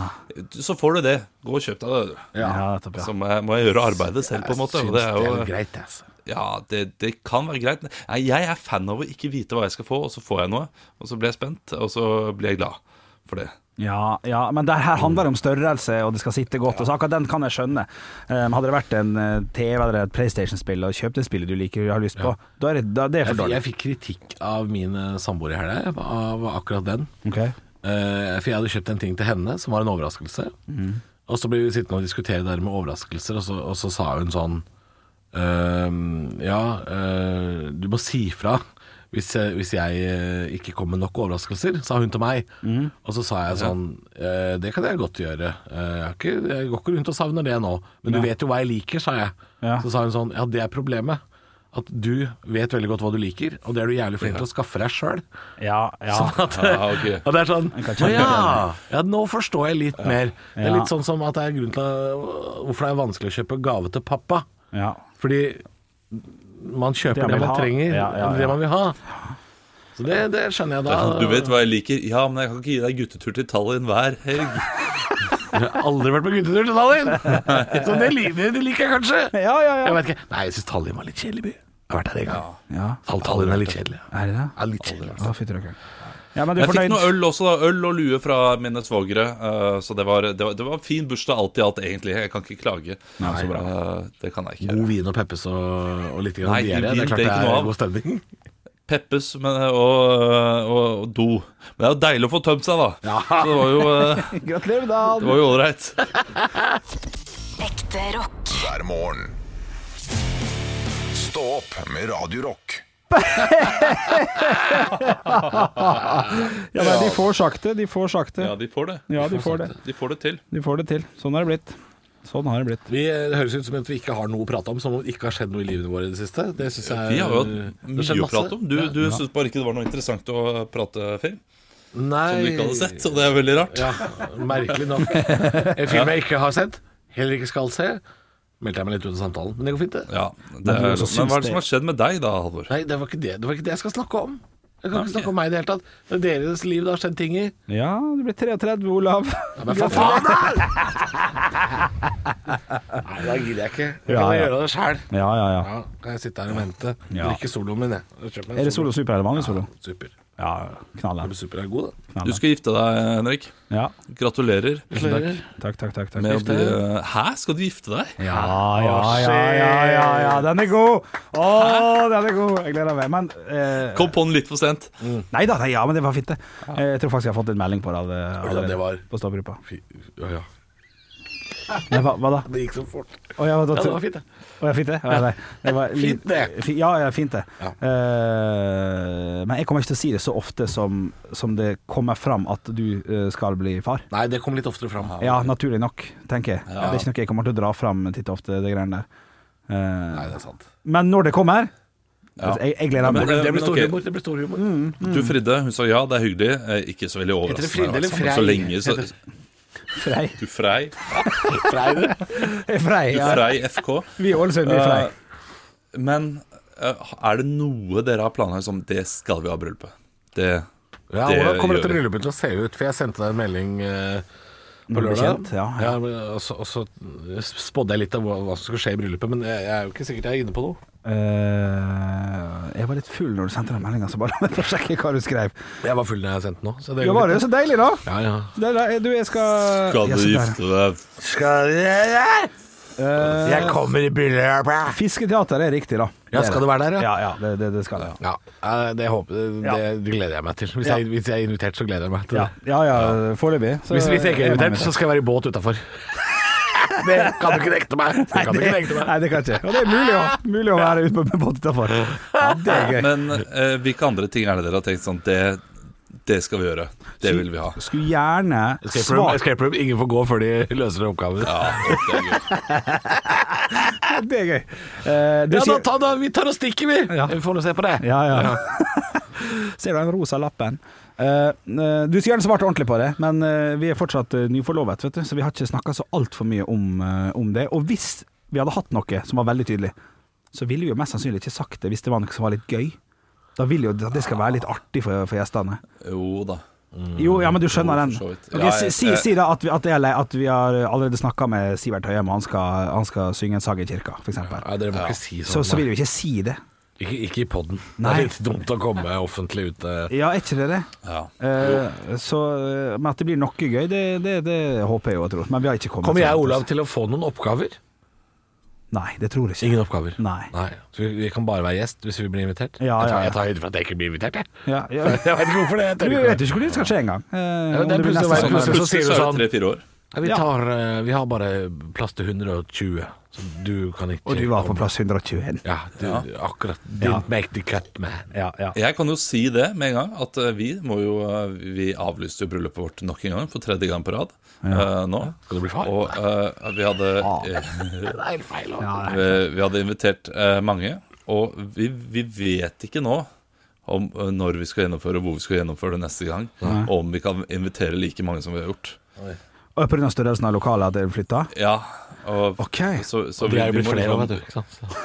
Speaker 5: Så får du det. Gå og kjøp deg det. du."
Speaker 4: Ja, nettopp, ja.
Speaker 5: Så må jeg, må jeg gjøre arbeidet selv, på en måte. Og det er
Speaker 3: litt
Speaker 5: jo
Speaker 3: greit, altså.
Speaker 5: Ja, det, det kan være greit. Nei, jeg er fan av å ikke vite hva jeg skal få, og så får jeg noe. Og så blir jeg spent, og så blir jeg glad for det.
Speaker 4: Ja, ja, men det her handler om størrelse, og det skal sitte godt. Og så akkurat den kan jeg skjønne. Um, hadde det vært en eh, TV eller et PlayStation-spill, og kjøpt det spillet du liker og har lyst på, da er det, da, det er
Speaker 3: Jeg,
Speaker 4: for dårlig.
Speaker 3: jeg fikk kritikk av min eh, samboer i helga, av akkurat den.
Speaker 4: Ok.
Speaker 3: Eh, for jeg hadde kjøpt en ting til henne som var en overraskelse. Og så ble vi sittende og diskutere det her med overraskelser, og så, og så sa hun sånn eh, Ja, eh, du må si fra hvis, jeg- hvis jeg eh, ikke kommer med nok overraskelser, sa hun til meg. Og så sa jeg sånn eh, Det kan jeg godt gjøre. Eh, jeg, har ikke, jeg går ikke rundt og savner det nå. Men du vet jo hva jeg liker, sa jeg.
Speaker 4: Ja.
Speaker 3: Så sa hun sånn Ja, det er problemet. At du vet veldig godt hva du liker, og det er du jævlig flink til å skaffe deg sjøl.
Speaker 4: Ja, ja.
Speaker 3: At,
Speaker 5: Ja, ok.
Speaker 3: og det er sånn
Speaker 4: kan
Speaker 3: «Å
Speaker 4: kjenne
Speaker 3: ja,
Speaker 4: igjen
Speaker 3: ja, nå forstår jeg litt mer. Det er
Speaker 4: Ja.
Speaker 3: litt sånn som at det er grunn til å, hvorfor det er vanskelig å kjøpe gave til pappa.
Speaker 4: ja.
Speaker 3: Fordi man kjøper
Speaker 4: Det
Speaker 3: det,
Speaker 4: han vil
Speaker 3: man
Speaker 4: ha.
Speaker 3: trenger,
Speaker 4: Ja, ja, ja.
Speaker 3: det man vil ha. Så det, det skjønner jeg
Speaker 5: Det
Speaker 3: da.
Speaker 5: er sånn, Du vet hva jeg liker? Ja, men jeg kan ikke gi deg guttetur til Tallinn hver helg.
Speaker 3: Jeg har aldri vært på guttetur til Tallinn! Så det, li- det liker jeg kanskje.
Speaker 4: Ja, ja, ja.
Speaker 3: Jeg vet ikke. Nei, jeg syns Tallinn var litt kjedelig by. Jeg har vært der en gang.
Speaker 4: Ja.
Speaker 3: Tall- Tallinn er litt kjedelig.
Speaker 4: Er det det?
Speaker 3: Ja, litt kjedelig. altså.
Speaker 4: Å, fytti rakkeren. Ja, men du er
Speaker 5: Jeg fikk
Speaker 4: fornøyd?
Speaker 5: noe øl også, da. Øl og lue fra mine svogere. eh, Så det var, det var, det var en fin bursdag alt i alt, egentlig. Jeg kan ikke klage.
Speaker 3: så bra.
Speaker 5: Eh, Det kan jeg ikke
Speaker 3: God
Speaker 5: gjøre.
Speaker 3: vin og Peppes og, og litt grann
Speaker 5: Nei,
Speaker 3: diaré. Det
Speaker 5: vin,
Speaker 3: er klart
Speaker 5: det
Speaker 3: det
Speaker 5: er ikke noe
Speaker 3: er
Speaker 5: av.
Speaker 3: god stemning.
Speaker 5: Peppes men, og, og, og do. Men det er jo deilig å få tømt seg, da. Så det var jo, eh,
Speaker 4: Gratulerer med dagen!
Speaker 5: det var jo ålreit.
Speaker 2: Ekte rock.
Speaker 1: hver morgen. Stå opp med Radio Rock.
Speaker 4: Ja, nei, de får sakte, de får sakte.
Speaker 5: Ja, de får det.
Speaker 4: Ja, de får det.
Speaker 5: De får det til.
Speaker 4: De får det til. Sånn har det blitt. Sånn har det blitt.
Speaker 3: Vi, det høres ut som at vi ikke har noe å prate om, som om det ikke har skjedd noe i livet vårt i det siste. Det synes jeg
Speaker 5: Vi har jo
Speaker 3: det
Speaker 5: hatt
Speaker 3: Eh, har
Speaker 5: mye
Speaker 3: skjedd
Speaker 5: å
Speaker 3: masse.
Speaker 5: prate om. Du, du syntes bare ikke det var noe interessant å prate film
Speaker 3: Nei,
Speaker 5: som du ikke hadde sett, og det er veldig rart.
Speaker 3: Ja, merkelig nok. En film jeg ikke har sett, heller ikke skal se, meldte jeg meg litt ut av samtalen. Men det går fint, det.
Speaker 5: Ja, det
Speaker 4: Men
Speaker 5: er,
Speaker 4: du
Speaker 5: men
Speaker 4: også syns
Speaker 5: hva er
Speaker 4: det-
Speaker 5: det som har skjedd med deg da, Halvor?
Speaker 3: Nei, det var ikke det, det, var ikke det jeg skal snakke om. Jeg kan ikke snakke om meg i det hele tatt. Det er deres liv det har skjedd ting i.
Speaker 4: Ja, du blir 33, Olav.
Speaker 3: Ja, men for faen, da!
Speaker 5: <laughs>
Speaker 3: Nei, da gidder jeg ikke. Jeg
Speaker 4: Ja,
Speaker 3: kan
Speaker 4: ja.
Speaker 3: gjøre det sjæl.
Speaker 4: Ja, ja, ja.
Speaker 3: Ja, kan jeg sitte her og vente.
Speaker 4: Ja.
Speaker 3: Drikke soloen min, jeg. Kjøp meg en
Speaker 4: Er det solo super eller vanlig solo?
Speaker 3: Super.
Speaker 4: Ja, Ja, knall
Speaker 3: den. Super er god, da.
Speaker 5: Du skal gifte deg, Henrik.
Speaker 4: Ja.
Speaker 5: Gratulerer
Speaker 3: Gratulerer.
Speaker 4: Takk, takk, takk. takk.
Speaker 5: med å bli Hæ, skal du gifte deg?
Speaker 4: Ja, ja, ja, ja, ja, ja, den er god! Å, den er god! Jeg gleder meg. Men eh,
Speaker 5: Kom på den litt for sent.
Speaker 4: Nei da, nei, ja, men det var fint, det. Eh, Jeg tror faktisk jeg har fått en melding på det. alle-
Speaker 3: Hvordan det var?
Speaker 4: På stoppegruppa.
Speaker 3: Fy, ja, ja.
Speaker 4: Nei, hva, hva da?
Speaker 3: Det gikk så fort.
Speaker 4: Å, ja, da
Speaker 3: Ja, det var fint, det.
Speaker 4: Å, ja, fint det? Ja, nei. det var litt-
Speaker 3: Fint det.
Speaker 4: Fi, ja, ja, fint det. Eh, men jeg kommer ikke til å si det så ofte som, som det kommer fram at du eh, skal bli far.
Speaker 3: Nei, det kom litt oftere fram.
Speaker 4: Ja, naturlig nok, tenker jeg. Det er ikke noe jeg kommer til å dra fram titt og ofte, det greiene der. Eh,
Speaker 3: Nei, det er sant.
Speaker 4: men når det kommer
Speaker 5: Ja.
Speaker 4: altså, jeg, jeg gleder
Speaker 5: Men
Speaker 4: meg.
Speaker 5: det-
Speaker 3: Det blir Mm.
Speaker 5: men ok.
Speaker 3: stor humor. Det blir stor humor.
Speaker 5: Du fridde, hun sa ja, det er hyggelig. Eh, Ikke så veldig
Speaker 3: Heter det
Speaker 5: overraskende.
Speaker 3: Fride
Speaker 5: Jeg har vært
Speaker 3: eller
Speaker 5: sammen Så
Speaker 3: Frei?
Speaker 5: lenge, så,
Speaker 4: Frei.
Speaker 5: du Frei.
Speaker 3: Frei, det.
Speaker 4: Frei,
Speaker 5: Du
Speaker 4: ja.
Speaker 5: Frei FK.
Speaker 4: Vi i Ålesund, vi er frei.
Speaker 5: Eh, Men eh, er det noe dere har planlagt som Det skal vi ha bryllup på. Det
Speaker 3: Ja,
Speaker 5: Det
Speaker 3: Hvordan kommer
Speaker 5: gjør
Speaker 3: dette
Speaker 5: vi.
Speaker 3: bryllupet til å se ut? For jeg sendte deg en melding eh, på
Speaker 4: Når det
Speaker 3: lørdag.
Speaker 4: blir kjent, ja, ja.
Speaker 3: men- og, så, og så spådde jeg litt av hva, hva som skulle skje i bryllupet, men jeg, jeg er jo ikke sikkert jeg er inne på noe.
Speaker 4: Eh, jeg var litt full når du sendte den meldinga, så bare la meg få sjekke hva du skrev.
Speaker 3: Jeg var full da jeg sendte nå. Så det
Speaker 4: Ja, var det så deilig, da?
Speaker 3: Ja, ja.
Speaker 4: Det er da- du, jeg skal
Speaker 5: Skal
Speaker 4: Jeg
Speaker 5: du
Speaker 4: sitter her, ja.
Speaker 5: gifte deg?
Speaker 3: Jeg kommer i bryllupet!
Speaker 4: Fisketeater er riktig, da.
Speaker 3: Ja, skal du være der, ja?
Speaker 4: Ja, ja det, det, det skal jeg.
Speaker 3: Ja, eh, det, håper, det,
Speaker 4: Ja.
Speaker 3: det gleder jeg meg til. Hvis,
Speaker 4: Ja.
Speaker 3: jeg, hvis jeg er invitert, så gleder jeg meg til
Speaker 4: Ja,
Speaker 3: det.
Speaker 4: ja, ja foreløpig. så-
Speaker 3: Hvis, hvis jeg ikke er invitert, så
Speaker 4: Nei,
Speaker 3: skal jeg være i båt
Speaker 4: <laughs>
Speaker 3: utafor. Det kan du ikke nekte meg! Det kan du ikke nekte
Speaker 4: det-
Speaker 3: meg.
Speaker 4: Nei, det kan jeg ikke. Og det er mulig å, mulig å være ute på båt utafor. Ja, det er gøy.
Speaker 5: Men eh, hvilke andre ting er det dere har tenkt sånn Det, det skal vi gjøre. Det vil vi ha.
Speaker 4: Skulle gjerne
Speaker 3: Escape room,
Speaker 4: svart
Speaker 3: escape room, ingen får gå før de løser oppgaven. Ja,
Speaker 4: Ja, Det er gøy. Eh, du
Speaker 3: da,
Speaker 4: sier-
Speaker 3: ta, da, vi tar og stikker, vi! Vi får nå se på det.
Speaker 4: ja, ja. <laughs> Ser du den rosa lappen? Eh, eh, du skulle gjerne svart ordentlig på det, men eh, vi er fortsatt eh, nyforlovet, vet du, så vi har ikke snakka så altfor mye om, eh, om det. Og hvis vi hadde hatt noe som var veldig tydelig, så ville vi jo mest sannsynlig ikke sagt det hvis det var noe som var litt gøy. Da vil jo det skal være litt artig for, for gjestene.
Speaker 5: Jo da.
Speaker 4: Jo, ja, men du skjønner
Speaker 5: Mm.
Speaker 4: den.
Speaker 5: Jo, for så vidt.
Speaker 4: Ok,
Speaker 5: Ja,
Speaker 4: si,
Speaker 5: jeg-
Speaker 4: si, si da at vi, at, det er, lei- at vi har allerede snakka med Sivert Høyem, og han skal, han skal synge en sag i kirka, f.eks.
Speaker 3: Nei, dere må ikke si sånn.
Speaker 4: Så, så
Speaker 3: da.
Speaker 4: vil vi jo ikke si det.
Speaker 3: Ikke, ikke i podden. Det
Speaker 4: Nei.
Speaker 3: er litt dumt å komme offentlig ut eh.
Speaker 4: Ja, er ikke det det?
Speaker 5: Ja.
Speaker 4: Eh, så, eh, men at det blir noe gøy, det, det, det håper jeg jo og tror. Men vi har ikke kommet
Speaker 3: Kommer
Speaker 4: så
Speaker 3: jeg og
Speaker 4: langt,
Speaker 3: Olav
Speaker 4: altså.
Speaker 3: til å få noen oppgaver?
Speaker 4: Nei, det tror jeg ikke.
Speaker 3: Ingen oppgaver.
Speaker 4: Nei.
Speaker 3: Så vi, vi kan bare være gjest hvis vi blir invitert?
Speaker 4: Ja,
Speaker 3: jeg,
Speaker 4: ja,
Speaker 3: tar,
Speaker 4: ja.
Speaker 3: jeg tar høyde for at jeg ikke blir invitert, jeg.
Speaker 4: Ja,
Speaker 3: <laughs>
Speaker 4: ja.
Speaker 3: Jeg vet ikke hvorfor det. Jeg
Speaker 4: Du
Speaker 3: tør ikke.
Speaker 4: vet jo ikke hvor det skal skje engang. Uh,
Speaker 3: men det er plutselig å være
Speaker 5: Men
Speaker 3: plutselig så sier
Speaker 5: plutselig
Speaker 3: du
Speaker 5: så er
Speaker 3: sånn-
Speaker 5: det tre-fire år.
Speaker 3: Ja, vi,
Speaker 4: Ja.
Speaker 3: tar, eh, vi har bare plass til 120, så du kan ikke
Speaker 4: Og du var på
Speaker 3: komme.
Speaker 4: plass 121.
Speaker 3: Ja, du, akkurat. Didn't
Speaker 4: Ja.
Speaker 3: make the cut, man.
Speaker 4: Ja, ja.
Speaker 5: Jeg kan jo si det med en gang, at eh, vi må jo eh, Vi avlyste jo bryllupet vårt nok en gang, for tredje gang på rad eh, nå.
Speaker 3: Skal du bli far?
Speaker 5: Og eh, vi hadde
Speaker 3: Det er helt feil. også.
Speaker 5: eh, Vi hadde invitert eh, mange, og vi, vi vet ikke nå om eh, når vi skal gjennomføre, og hvor vi skal gjennomføre det neste gang. Og om vi kan invitere like mange som vi har gjort.
Speaker 4: Og pga. størrelsen av lokalet at dere flytta?
Speaker 5: Ja, og
Speaker 4: Ok.
Speaker 5: så, så
Speaker 3: De er jo
Speaker 5: vi
Speaker 3: blitt
Speaker 5: må
Speaker 3: flere,
Speaker 5: liksom-
Speaker 3: vet du. Ikke sant?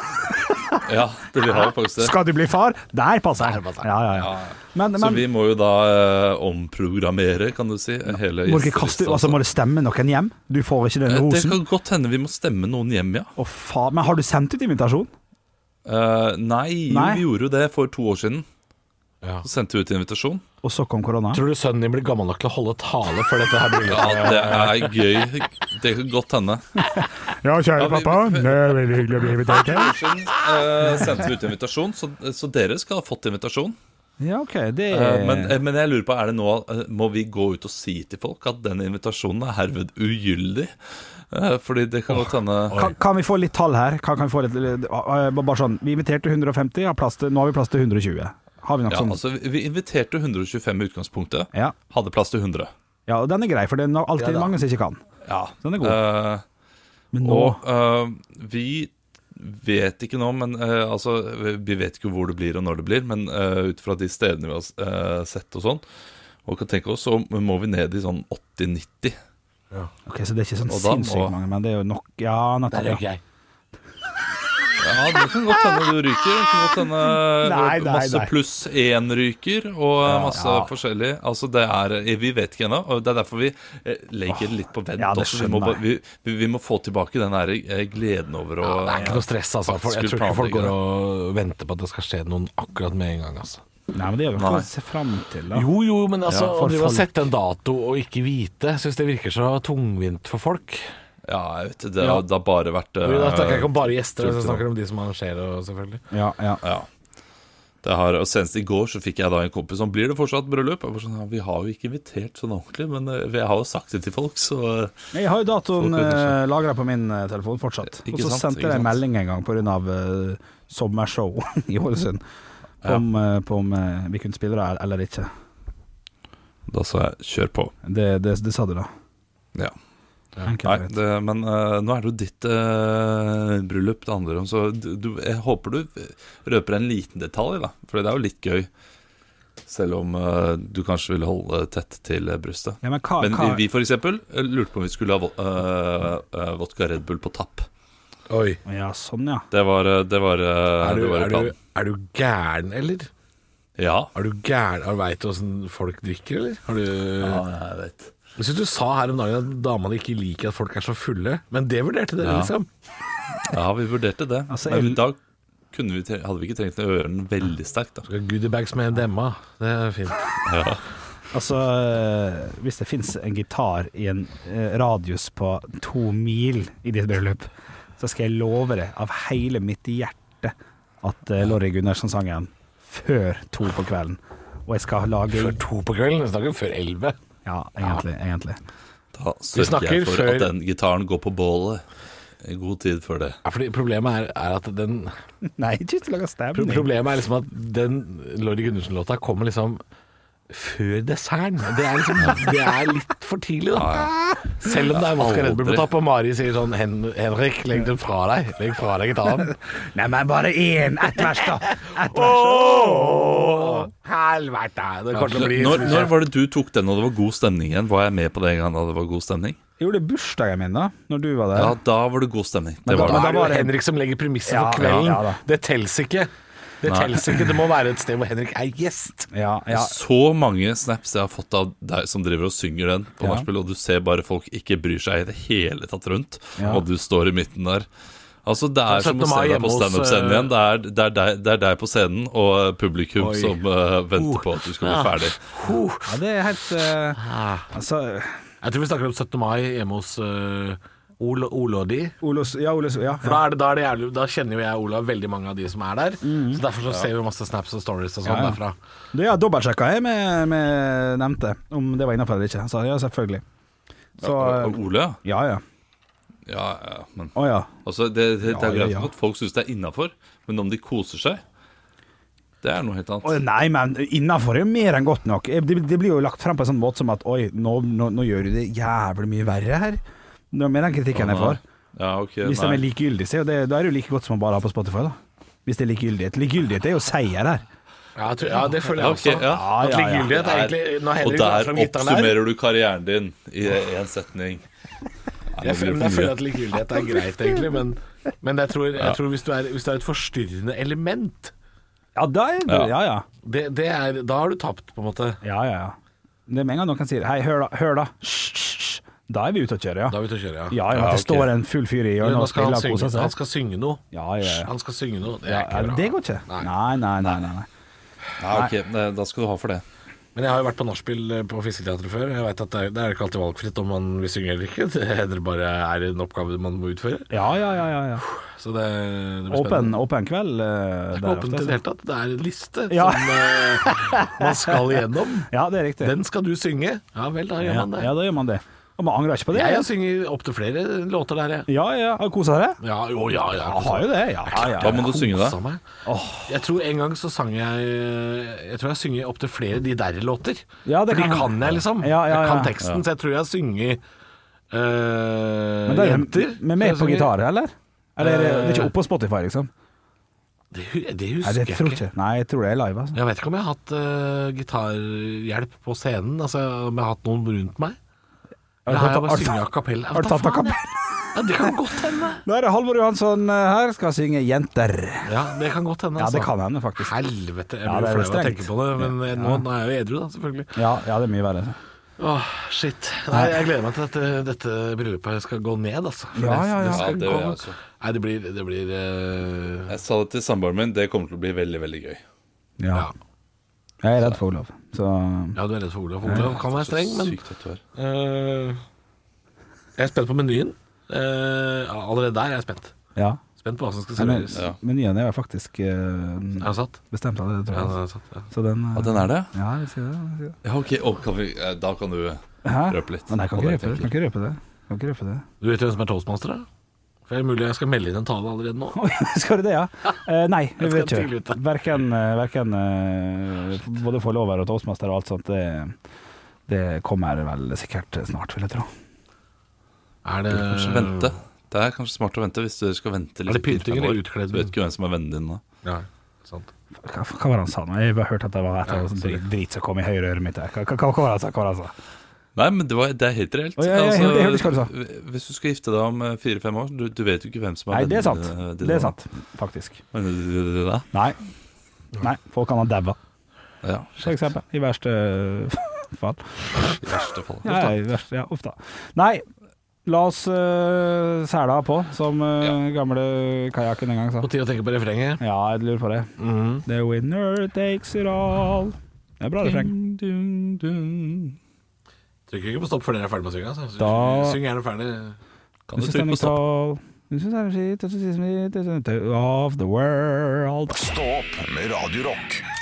Speaker 5: Ja, det vi har jo faktisk det.
Speaker 4: Skal du bli far? Der passer det! Ja, ja, ja. Men,
Speaker 5: Så
Speaker 4: men
Speaker 5: vi må jo da eh, omprogrammere, kan du si, hele
Speaker 4: må, dere kaste,
Speaker 5: gjestelista.
Speaker 4: altså, må det stemme noen hjem? Du får ikke den
Speaker 5: Eh, Det
Speaker 4: rosen?
Speaker 5: kan godt hende vi må stemme noen hjem, ja.
Speaker 4: Å, faen. Men har du sendt ut invitasjon?
Speaker 5: Eh,
Speaker 4: Nei.
Speaker 5: nei, Jo, vi gjorde jo det for to år siden.
Speaker 3: Ja.
Speaker 5: Så sendte vi ut invitasjon.
Speaker 4: Og så kom korona?
Speaker 3: Tror du sønnen din blir gammel nok til å holde tale før dette her bryllupet?
Speaker 5: Ja, det er gøy. Det kan godt hende.
Speaker 4: Ja, kjære
Speaker 5: Ja, vi- pappa, det
Speaker 4: er veldig hyggelig å bli invitert
Speaker 5: For to år siden eh, sendte vi ut invitasjon, så, så dere skal ha fått invitasjon.
Speaker 4: Ja, OK, det
Speaker 5: Eh, men, eh, men jeg lurer på, er det nå eh, må vi gå ut og si til folk at den invitasjonen er herved ugyldig? Eh, fordi det kan godt hende
Speaker 4: kan, kan vi få litt tall her? Kan, kan vi få litt, litt- eh, bare sånn, vi inviterte 150, har plass til, nå har vi plass til 120. Har vi nok
Speaker 5: Ja,
Speaker 4: sånn?
Speaker 5: altså, vi- vi inviterte 125 i utgangspunktet.
Speaker 4: Ja.
Speaker 5: Hadde plass til 100.
Speaker 4: ja, og den er grei, for det er no- alltid mange som ikke kan.
Speaker 5: Ja,
Speaker 4: Den er god. Men nå
Speaker 5: Eh, og eh, vi vet ikke nå, men eh, altså vi- Vi vet ikke hvor det blir og når det blir, men eh, ut fra de stedene vi har eh, sett og sånn, og kan tenke oss, så må vi ned i sånn 80-90.
Speaker 4: Ok, så det er ikke sånn
Speaker 5: Og da må-
Speaker 4: sinnssykt mange, men det er jo nok Ja,
Speaker 3: Der
Speaker 4: nettopp.
Speaker 3: røyker
Speaker 4: Ja.
Speaker 3: jeg.
Speaker 5: Ja, det kan godt hende du ryker. Det kan godt hende
Speaker 4: <laughs> Nei, nei,
Speaker 5: masse
Speaker 4: nei.
Speaker 5: pluss én ryker, og masse
Speaker 4: Ja.
Speaker 5: forskjellig. Altså, det er Vi vet ikke ennå, og det er derfor vi eh, legger det litt på vent
Speaker 4: ja, det
Speaker 5: også. Vi må,
Speaker 4: skjønner
Speaker 5: bare- vi, vi, vi må få tilbake den der eh, gleden over å
Speaker 3: Det er ikke noe stress, altså. For jeg tror ikke folk går og venter på at det skal skje noen akkurat med en gang, altså.
Speaker 4: Nei, men det er jo noe å se fram til, da.
Speaker 3: Jo, jo, men altså,
Speaker 4: Ja,
Speaker 3: å
Speaker 4: for
Speaker 3: drive og
Speaker 4: folk.
Speaker 3: sette en dato og ikke vite, syns det virker så tungvint for folk.
Speaker 5: Ja, jeg vet det.
Speaker 3: Ja.
Speaker 5: har- Det har bare vært eh,
Speaker 3: Vi snakker jeg ikke om bare gjester,
Speaker 5: tror
Speaker 3: vi
Speaker 5: ikke
Speaker 3: snakker om de som arrangerer og selvfølgelig.
Speaker 4: Ja, ja.
Speaker 5: Ja. Det har, og Senest i går så fikk jeg da en kompis som blir det fortsatt bryllup. Jeg bare sånn, ja, vi har jo ikke invitert sånn ordentlig, men eh, jeg har jo sagt det til folk, så eh,
Speaker 4: Jeg har jo datoen
Speaker 5: Folk uten
Speaker 4: eh, lagra på min eh, telefon fortsatt.
Speaker 5: sånn. Ikke
Speaker 4: Og så
Speaker 5: sant,
Speaker 4: sendte
Speaker 5: ikke
Speaker 4: jeg en
Speaker 5: sant.
Speaker 4: melding en gang pga. Uh, sommershow <laughs> i Ålesund. På
Speaker 5: Ja.
Speaker 4: Om, eh, på om eh, vi kunne spille det eller ikke.
Speaker 5: da sa jeg kjør på.
Speaker 4: Det, det, det sa du, da.
Speaker 5: Ja.
Speaker 4: Enkelt og
Speaker 5: Nei,
Speaker 4: greit.
Speaker 5: det, men eh, nå er det jo ditt eh, bryllup det handler om, så du, du, jeg håper du eh, røper en liten detalj, da. For det er jo litt gøy, selv om eh, du kanskje vil holde tett til eh, brystet.
Speaker 4: Ja, men hva-
Speaker 5: men
Speaker 4: hva-
Speaker 5: vi, vi for eksempel eh, lurte på om vi skulle ha vo- eh, eh, vodka Red Bull på tapp.
Speaker 3: Oi.
Speaker 4: Ja, sånn, ja.
Speaker 5: Det var, eh, det var, eh,
Speaker 3: Er du,
Speaker 5: det var
Speaker 3: er du,
Speaker 5: planen.
Speaker 3: er du gæren, eller?
Speaker 5: Ja.
Speaker 3: Er du gæren? Har du veit åssen folk drikker, eller? Har du
Speaker 5: ja, jeg vet.
Speaker 3: Jeg syns du sa her om dagen at damene ikke liker at folk er så fulle, men det vurderte dere,
Speaker 5: Ja.
Speaker 3: liksom.
Speaker 5: Ja, vi vurderte det.
Speaker 4: Altså,
Speaker 5: Men
Speaker 4: jeg-
Speaker 5: da kunne vi, tre- hadde vi ikke trengt å gjøre den veldig sterkt. Da.
Speaker 3: Goodiebags med MDMA, det er fint.
Speaker 4: Altså, eh, hvis det fins en gitar i en eh, radius på to mil i ditt bryllup, så skal jeg love det av hele mitt hjerte at eh, Lorry Gundersen sang den før to på kvelden. Og jeg skal lage
Speaker 3: Før to på kvelden, vi snakker før elleve.
Speaker 4: Ja, egentlig. egentlig.
Speaker 5: Da
Speaker 3: Vi
Speaker 5: sørger
Speaker 3: snakker
Speaker 5: jeg for
Speaker 3: før-
Speaker 5: at den gitaren går på bålet i god tid før det.
Speaker 3: Ja, fordi problemet er, er at den
Speaker 4: <laughs> Nei, ikke til å lage
Speaker 3: pro-
Speaker 4: stemning.
Speaker 3: Problemet er liksom at den Lorry Gundersen-låta kommer liksom før desserten. Det er liksom Det er litt for tidlig, da. Selv om det er vodka Red Bull på
Speaker 5: Aldri.
Speaker 3: tapp, og Mari sier sånn "Hen- Henrik, legg den fra deg. Legg fra deg gitaren.
Speaker 4: Nei, men bare én! Ett vers, <laughs> da! Ett vers.
Speaker 3: Åh, Helvete! Det kommer til å bli
Speaker 5: Når, når var det du tok den og det var god stemning igjen? Var jeg med på det en gang da det var god stemning?
Speaker 4: Jeg gjorde bursdagen min, da, når du var der.
Speaker 5: Ja, da var det god stemning.
Speaker 4: Men
Speaker 5: Det var
Speaker 3: Da
Speaker 5: det.
Speaker 4: da
Speaker 3: er det
Speaker 4: var
Speaker 3: jo
Speaker 4: det-
Speaker 3: Henrik som legger premisset
Speaker 4: Ja,
Speaker 3: for kvelden.
Speaker 4: ja, ja da.
Speaker 3: det telles ikke. Det
Speaker 5: Nei.
Speaker 3: telles ikke. Det må være et sted hvor Henrik er gjest.
Speaker 4: Ja, ja.
Speaker 5: Så mange snaps jeg har fått av deg som driver og synger den på
Speaker 4: Ja.
Speaker 5: nachspiel, og du ser bare folk ikke bryr seg i det hele tatt rundt,
Speaker 4: Ja.
Speaker 5: og du står i midten der. Altså, Det er som å
Speaker 3: 17.
Speaker 5: se
Speaker 3: mai
Speaker 5: deg på
Speaker 3: hjemme hos,
Speaker 5: standup-scenen
Speaker 3: eh,
Speaker 5: igjen. Det er, det, er deg, det er deg på scenen og eh, publikum
Speaker 3: Oi. Oh.
Speaker 5: som eh, venter på at du skal bli ferdig.
Speaker 4: ja, det er helt eh, Altså
Speaker 3: Jeg tror vi snakker om 17. mai hjemme hos uh, Ol Olodi.
Speaker 4: Olos, ja, Olos, ja.
Speaker 3: For da, er det, da, er det jævlig, da kjenner jo jeg og Olav veldig mange av de som er der. Så Derfor så ser vi masse snaps og stories og sånn
Speaker 4: Ja, ja.
Speaker 3: derfra.
Speaker 4: Du, ja, dobbeltsjekka jeg med, med nevnte om det var innafor eller ikke. Han sa ja, selvfølgelig. Så
Speaker 3: Ah.
Speaker 4: eh,
Speaker 5: Og Ole, ja.
Speaker 4: ja ja.
Speaker 5: ja, ja men,
Speaker 4: Å ja.
Speaker 5: altså, det, det, det
Speaker 4: Ja,
Speaker 5: er
Speaker 4: ja,
Speaker 5: greit
Speaker 4: ja.
Speaker 5: nok at folk syns det er innafor, men om de koser seg, det er noe helt
Speaker 4: Å,
Speaker 5: annet.
Speaker 4: nei, men innafor er jo mer enn godt nok. Det, det blir jo lagt frem på en sånn måte som at oi, nå, nå, nå gjør du det jævlig mye verre her. Det er mer den kritikken jeg får.
Speaker 5: Ja, ok,
Speaker 4: Hvis de
Speaker 5: nei.
Speaker 4: er likegyldige, så er jo det, da er det jo like godt som å bare ha på Spotify, da. Hvis det er likegyldighet. Likegyldighet er jo seier her.
Speaker 3: Ja, jeg tror, ja, det føler jeg
Speaker 5: Ja, ok,
Speaker 3: også.
Speaker 5: ja.
Speaker 3: At
Speaker 4: Ja, ja, ja.
Speaker 3: likegyldighet er egentlig Når
Speaker 5: og
Speaker 3: Henrik la
Speaker 5: der
Speaker 3: fram gitaren her
Speaker 5: oppsummerer du karrieren din i én setning. Nei, nå
Speaker 3: <laughs> jeg
Speaker 5: blir
Speaker 3: føler,
Speaker 5: det
Speaker 3: men
Speaker 5: for
Speaker 3: jeg føler
Speaker 5: mye.
Speaker 3: at likegyldighet er greit, egentlig. Men, men jeg tror, jeg tror hvis, du er, hvis det er et forstyrrende element,
Speaker 4: Ja, da er det,
Speaker 5: Ja.
Speaker 4: ja ja.
Speaker 3: det, det er, da har du tapt, på en måte.
Speaker 4: Ja ja ja. Det er med en gang noen sier hei, hør da, hør da. Hysj, hysj, hysj. Da er vi ute og kjører, ja.
Speaker 3: Da er vi ute og kjører,
Speaker 4: Ja, ja,
Speaker 5: Ja,
Speaker 4: at det
Speaker 5: ok.
Speaker 4: står en full fyr i hjørnet
Speaker 3: Nå
Speaker 4: og
Speaker 3: skal
Speaker 4: spiller
Speaker 3: han,
Speaker 4: og
Speaker 3: synge,
Speaker 4: koser
Speaker 3: han
Speaker 4: seg.
Speaker 3: skal synge noe.
Speaker 4: Ja, ja, ja.
Speaker 3: Han skal synge noe. Det
Speaker 4: Ja,
Speaker 3: er ikke bra.
Speaker 4: det går ikke. Nei, nei, nei. nei, nei.
Speaker 5: Ja, ok, nei, Da skal du ha for det.
Speaker 3: Men jeg har jo vært på nachspiel eh, på Fisketeatret før. Jeg vet at det er, det er ikke alltid valgfritt om man vil synge eller ikke. <laughs> Det er bare er en oppgave man må utføre.
Speaker 4: Ja, ja, ja. ja, ja.
Speaker 3: Så det, det blir
Speaker 4: Åpen,
Speaker 3: spennende.
Speaker 4: åpen kveld. eh,
Speaker 3: Det er
Speaker 4: der
Speaker 3: ikke åpent i
Speaker 4: ofte,
Speaker 3: det hele tatt. Det er en liste
Speaker 4: Ja.
Speaker 3: som eh, man skal igjennom.
Speaker 4: altså. Ja, det er riktig.
Speaker 3: Den skal du synge. Ja vel, da gjør
Speaker 4: ja,
Speaker 3: man det.
Speaker 4: ja, da gjør man det. Og man angrer ikke på det.
Speaker 3: Jeg synger opptil flere låter der, jeg.
Speaker 4: Ja, ja. Har du kosa deg?
Speaker 3: Ja, jo, ja, ja.
Speaker 4: Jeg har jo det. Ja, ja.
Speaker 5: Da må du
Speaker 3: Kosa
Speaker 5: synge det.
Speaker 3: meg. Jeg tror en gang så sang jeg Jeg tror jeg synger opptil flere De der-låter.
Speaker 4: Ja, det
Speaker 3: For de
Speaker 4: kan-
Speaker 3: kan jeg, liksom.
Speaker 4: Ja, ja,
Speaker 3: Jeg kan
Speaker 4: ja.
Speaker 3: teksten, så jeg tror jeg synger eh,
Speaker 4: Men det er
Speaker 3: Jenter.
Speaker 4: med meg
Speaker 3: Så
Speaker 4: på
Speaker 3: jeg synger-
Speaker 4: gitar, eller? Eller det er ikke oppå Spotify, liksom?
Speaker 3: Det, hu- det
Speaker 4: Nei,
Speaker 3: husker
Speaker 4: det
Speaker 3: jeg
Speaker 4: tror
Speaker 3: ikke.
Speaker 4: jeg ikke. Nei, jeg tror det er live, altså.
Speaker 3: Jeg vet ikke om jeg har hatt eh, gitarhjelp på scenen. Altså om jeg har hatt noen rundt meg. Eller har jeg bare sunget a cappella?
Speaker 4: Har du tatt a cappella?
Speaker 3: Ja, det kan godt hende.
Speaker 4: Nå er det Halvor Johansson eh, her, skal synge 'Jenter'.
Speaker 3: Ja, det kan godt hende.
Speaker 4: Ja, det
Speaker 3: altså.
Speaker 4: kan hende, faktisk.
Speaker 3: Helvete, jeg
Speaker 4: Ja,
Speaker 3: blir jo
Speaker 4: det er
Speaker 3: flau av å
Speaker 4: strengt.
Speaker 3: tenke på det, men eh, nå, nå er jeg jo edru, da, selvfølgelig.
Speaker 4: Ja, ja, det er mye verre.
Speaker 3: Åh, shit. Nei, jeg gleder meg til at dette, dette bryllupet skal gå ned, altså. For
Speaker 4: Ja, ja, ja.
Speaker 3: Det, skal
Speaker 5: Ja, det gjør jeg
Speaker 3: gå-
Speaker 5: også.
Speaker 3: Nei, det blir, det blir eh,
Speaker 5: Jeg sa det til samboeren min, det kommer til å bli veldig, veldig gøy.
Speaker 4: Ja.
Speaker 3: ja.
Speaker 4: Jeg er redd for Olav. Så
Speaker 3: Ja, du er redd for Olav. Olav kan være streng, men
Speaker 5: Sykt tatovert.
Speaker 3: eh, Jeg er spent på menyen. Eh, allerede der er jeg spent.
Speaker 4: ja.
Speaker 3: Spent på hva som skal
Speaker 4: Men, eh,
Speaker 3: serveres.
Speaker 5: Ja.
Speaker 4: men nyene er faktisk
Speaker 3: Er
Speaker 4: eh,
Speaker 3: den satt?
Speaker 4: bestemt allerede,
Speaker 3: Ja,
Speaker 4: tror
Speaker 3: den
Speaker 4: jeg.
Speaker 3: er satt ja.
Speaker 4: Så den eh,
Speaker 5: Ja, den er det?
Speaker 4: Ja, jeg vil si det. Jeg vil si det.
Speaker 5: Ja, ok. Og kan vi, eh, da kan du
Speaker 4: Hæ?
Speaker 5: røpe litt.
Speaker 4: Men jeg kan
Speaker 5: Hva
Speaker 4: ikke
Speaker 5: det
Speaker 4: røpe det. Kan ikke røpe det. Kan ikke røpe det.
Speaker 3: Du vet jo hvem som er toastmaster, da? For det er mulig jeg skal melde inn en tale allerede nå.
Speaker 4: <laughs> Skal du det, ja? Eh, nei, jeg
Speaker 3: skal
Speaker 4: vet
Speaker 3: tidlig ut, da.
Speaker 4: ikke. Verken, eh, verken eh, både forlover og toastmaster og alt sånt, det, det kommer vel sikkert snart, vil jeg tro.
Speaker 3: Er det,
Speaker 5: Du kan Kanskje vente. Det er kanskje smart å vente hvis du skal vente
Speaker 3: Er det
Speaker 5: fire,
Speaker 3: pynting
Speaker 5: fem
Speaker 3: eller
Speaker 5: år.
Speaker 3: utkledning?
Speaker 5: Du vet ikke hvem som er vennen din da.
Speaker 3: Ja, sant.
Speaker 4: Hva, hva var det han sa nå? Jeg har bare hørt at det var et eller annet sånn drit, drit som kom i høyre øre mitt. her. Hva, hva, hva var det han sa? Hva var det han sa?
Speaker 5: Nei, men det, var, det er helt reelt.
Speaker 4: Å,
Speaker 5: Altså,
Speaker 4: ja, ja, jeg hørte- jeg hørte hva du sa.
Speaker 5: hvis du skal gifte deg om eh, fire-fem år, du, du vet jo ikke hvem som eh, er
Speaker 4: Nei, det er
Speaker 5: vennen
Speaker 4: sant.
Speaker 5: din- din
Speaker 4: Det er
Speaker 5: da.
Speaker 4: sant, faktisk.
Speaker 5: Vennen din da.
Speaker 4: Nei. Nei, folk kan ha daua,
Speaker 5: Ja,
Speaker 4: for eksempel. I verste <laughs> fall.
Speaker 5: i verste fall.
Speaker 4: Ja, i verste, ja, uff da. Nei, la oss uh, sæla på, som eh, gamle kajakken en gang sa.
Speaker 3: På tide å tenke på refrenget.
Speaker 4: Ja, jeg lurer på det.
Speaker 3: Mhm.
Speaker 4: The winner takes it all. Det er bra refreng.
Speaker 5: Ding, ding, ding.
Speaker 3: Trykker ikke på stopp før dere er ferdig med å synge. Altså. Syng-
Speaker 4: Da-
Speaker 3: Syng gjerne ferdig.
Speaker 5: Kan du trykke på stopp?
Speaker 4: Of the world.
Speaker 1: Stå opp med Radio Rock.